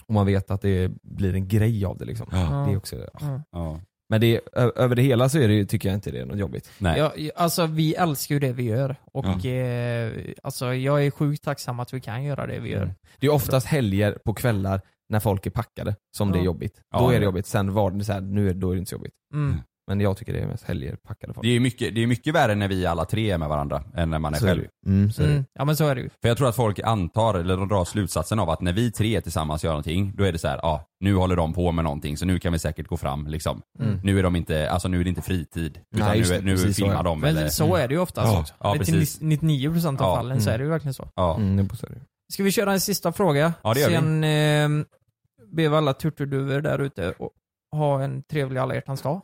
och man vet att det blir en grej av det liksom. Ja. Det är också, ja. Mm. Ja. Men det, ö- över det hela så är det, ju- tycker jag inte det är något jobbigt. Nej. Ja, alltså vi älskar ju det vi gör och eh, alltså, jag är sjukt tacksam att vi kan göra det vi gör. Mm. Det är oftast helger på kvällar när folk är packade som det är Ja. jobbigt. Ja. Då är det jobbigt. Sen var det så här, nu är, då är det inte så jobbigt. Mm. Men jag tycker det är mest helger packade folk. Det är mycket, det är mycket värre när vi alla tre är med varandra än när man är Så är själv. det. Mm, så är det. Mm. Ja men så är det ju. För jag tror att folk antar, eller de drar slutsatsen av att när vi tre tillsammans gör någonting, då är det så här, ja ah, nu håller de på med någonting så nu kan vi säkert gå fram liksom. Mm. Nu är de inte, alltså nu är det inte fritid. Utan Nej, just nu, det, är- nu precis så, ja. filmar de Men eller... så är det ju oftast Ja. också. Ja, Men precis. till 99% av Ja. fallen så är det ju verkligen så. Ja. Mm, det är det. Ska vi köra en sista fråga? Ja, det gör vi. Sen eh, ber vi alla turturduvor där ute och ha en trevlig alla hjärtans dag.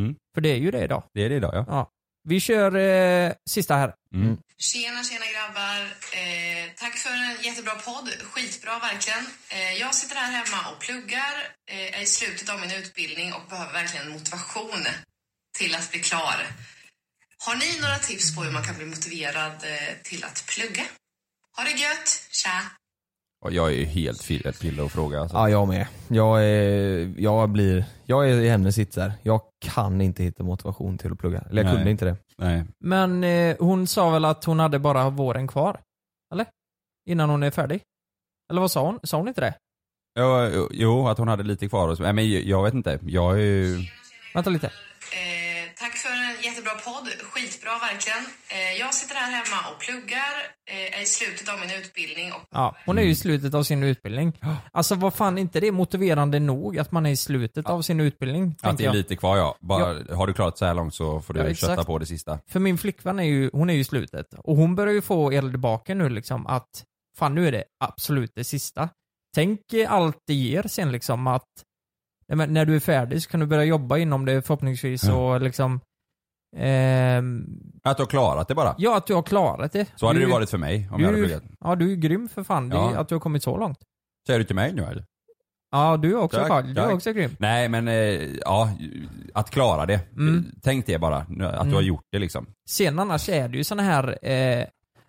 Mm. För det är ju det idag. Det är det idag ja. Ja. Vi kör eh, sista här. Mm. Tjena, tjena grabbar. Eh, tack för en jättebra podd. Skitbra verkligen. Eh, jag sitter här hemma och pluggar, eh, är i slutet av min utbildning och behöver verkligen motivation till att bli klar. Har ni några tips på hur man kan bli motiverad eh, till att plugga? Ha det gött! Tja! Och jag är ju helt fel kille att fråga alltså. Ja, jag med. Jag är, jag blir, jag är i hennes sits där. Jag kan inte hitta motivation till att plugga. Eller jag Nej. kunde inte det. Nej. Men eh, hon sa väl att hon hade bara våren kvar? Eller? Innan hon är färdig? Eller vad sa hon? Sa hon inte det? Jo, jo, att hon hade lite kvar och så. Nej men jag vet inte. Jag är ju... Vänta lite. Eh, tack för en jättebra podd. Skitbra verkligen. Eh, jag sitter här hemma och pluggar, eh, är i slutet av min utbildning och Ja, hon Mm. är ju i slutet av sin utbildning. Alltså vad fan, inte det är motiverande nog att man är i slutet av sin utbildning? Att tänker det är jag. lite kvar ja. Bara, Har du klarat så här långt så får du Ja, exakt. kötta på det sista. För min flickvän är ju, hon är ju i slutet. Och hon börjar ju få eld i baken nu liksom att fan nu är det absolut det sista. Tänk eh, allt det ger sen liksom att nej, men när du är färdig så kan du börja jobba inom det förhoppningsvis och liksom ehm, Att du har klarat det bara. ja att du har klarat det. Så hade Du- det varit för mig om du, jag hade pluggat. Ja du är ju grym för fan det är Ja. ju att du har kommit så långt. Säger du till mig nu eller? Ja, du är också Tack, Carl. Du är tack. också grym. Nej men eh, ja, att klara det. Tänk det bara, nu- att du har Mm. gjort det liksom. Sen annars är det ju såna här, eh,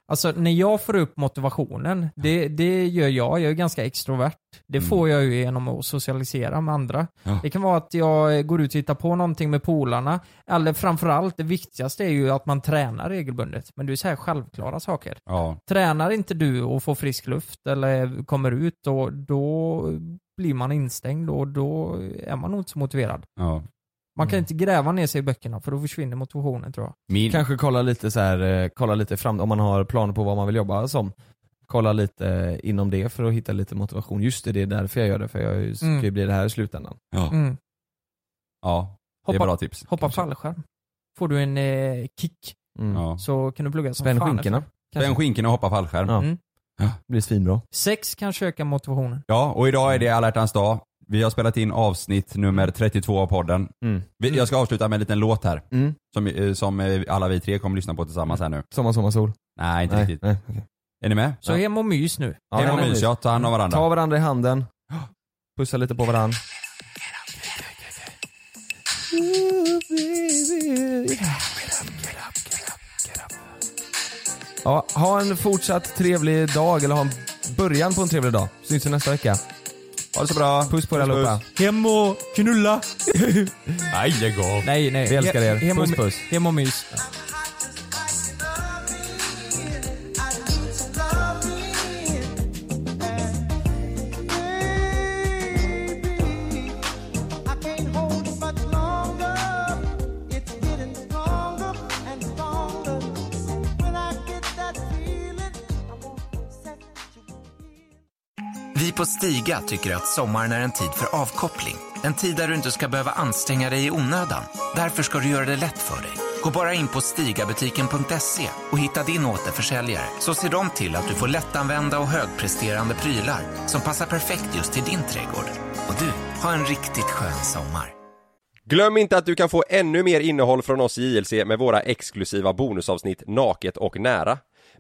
alltså när jag får upp motivationen, det, det gör jag, jag är ganska extrovert. Det Mm. får jag ju genom att socialisera med andra. Ja. Det kan vara att jag eh, går ut och hittar på någonting med polarna, eller framförallt det viktigaste är ju att man tränar regelbundet. Men det är så här självklara saker. Ja. Tränar inte du och får frisk luft eller kommer ut, och då blir man instängd och då är man nog inte så motiverad. Ja. Man Mm. kan inte gräva ner sig i böckerna för då försvinner motivationen tror jag. Kanske kolla lite så här, eh, kolla lite fram, om man har planer på vad man vill jobba som. Kolla lite eh, inom det för att hitta lite motivation. Just det, det är därför jag gör det, för jag ska ju Mm. bli det här i slutändan. Ja, Mm. ja det är Hoppa- bra tips. Hoppa fallskärm. Får du en eh, kick Mm. Ja. så kan du plugga som Spänn fan skinkorna. efter. Kanske. Spänn skinkorna och hoppa fallskärm. Ja. Mm. alltså. blir svinbra. Sex kanske ökar motivationen. Ja, och idag är det alla hjärtans dag. Vi har spelat in avsnitt nummer 32 av podden. Vi, jag ska avsluta med en liten låt här. Mm. Som, eh, som eh, alla vi tre kommer lyssna på tillsammans här nu. Sommar, sommar, sol. Nej, inte Nej, riktigt. nej, Är ni med? Så hem och mys nu. Ja, hem och mys, ja. Ta hand om varandra. Ta varandra i handen. Pussa lite på varandra. Ja, ha en fortsatt trevlig dag, eller ha en början på en trevlig dag. Syns vi nästa vecka. Ha det så bra. Puss på er allihopa. Hem och knulla. nej, lägg av. Nej, nej. Vi älskar er. He- hem och- Puss, puss. Hem och mys. I can't hold it much longer. It's getting stronger and stronger. And when I get that feeling, I want second. Vi på Stiga tycker att sommaren är en tid för avkoppling. En tid där du inte ska behöva anstränga dig i onödan. Därför ska du göra det lätt för dig. Gå bara in på stigabutiken.se och hitta din återförsäljare så ser de till att du får lättanvända och högpresterande prylar som passar perfekt just till din trädgård. Och du, har en riktigt skön sommar. Glöm inte att du kan få ännu mer innehåll från oss i JLC med våra exklusiva bonusavsnitt Naket och nära.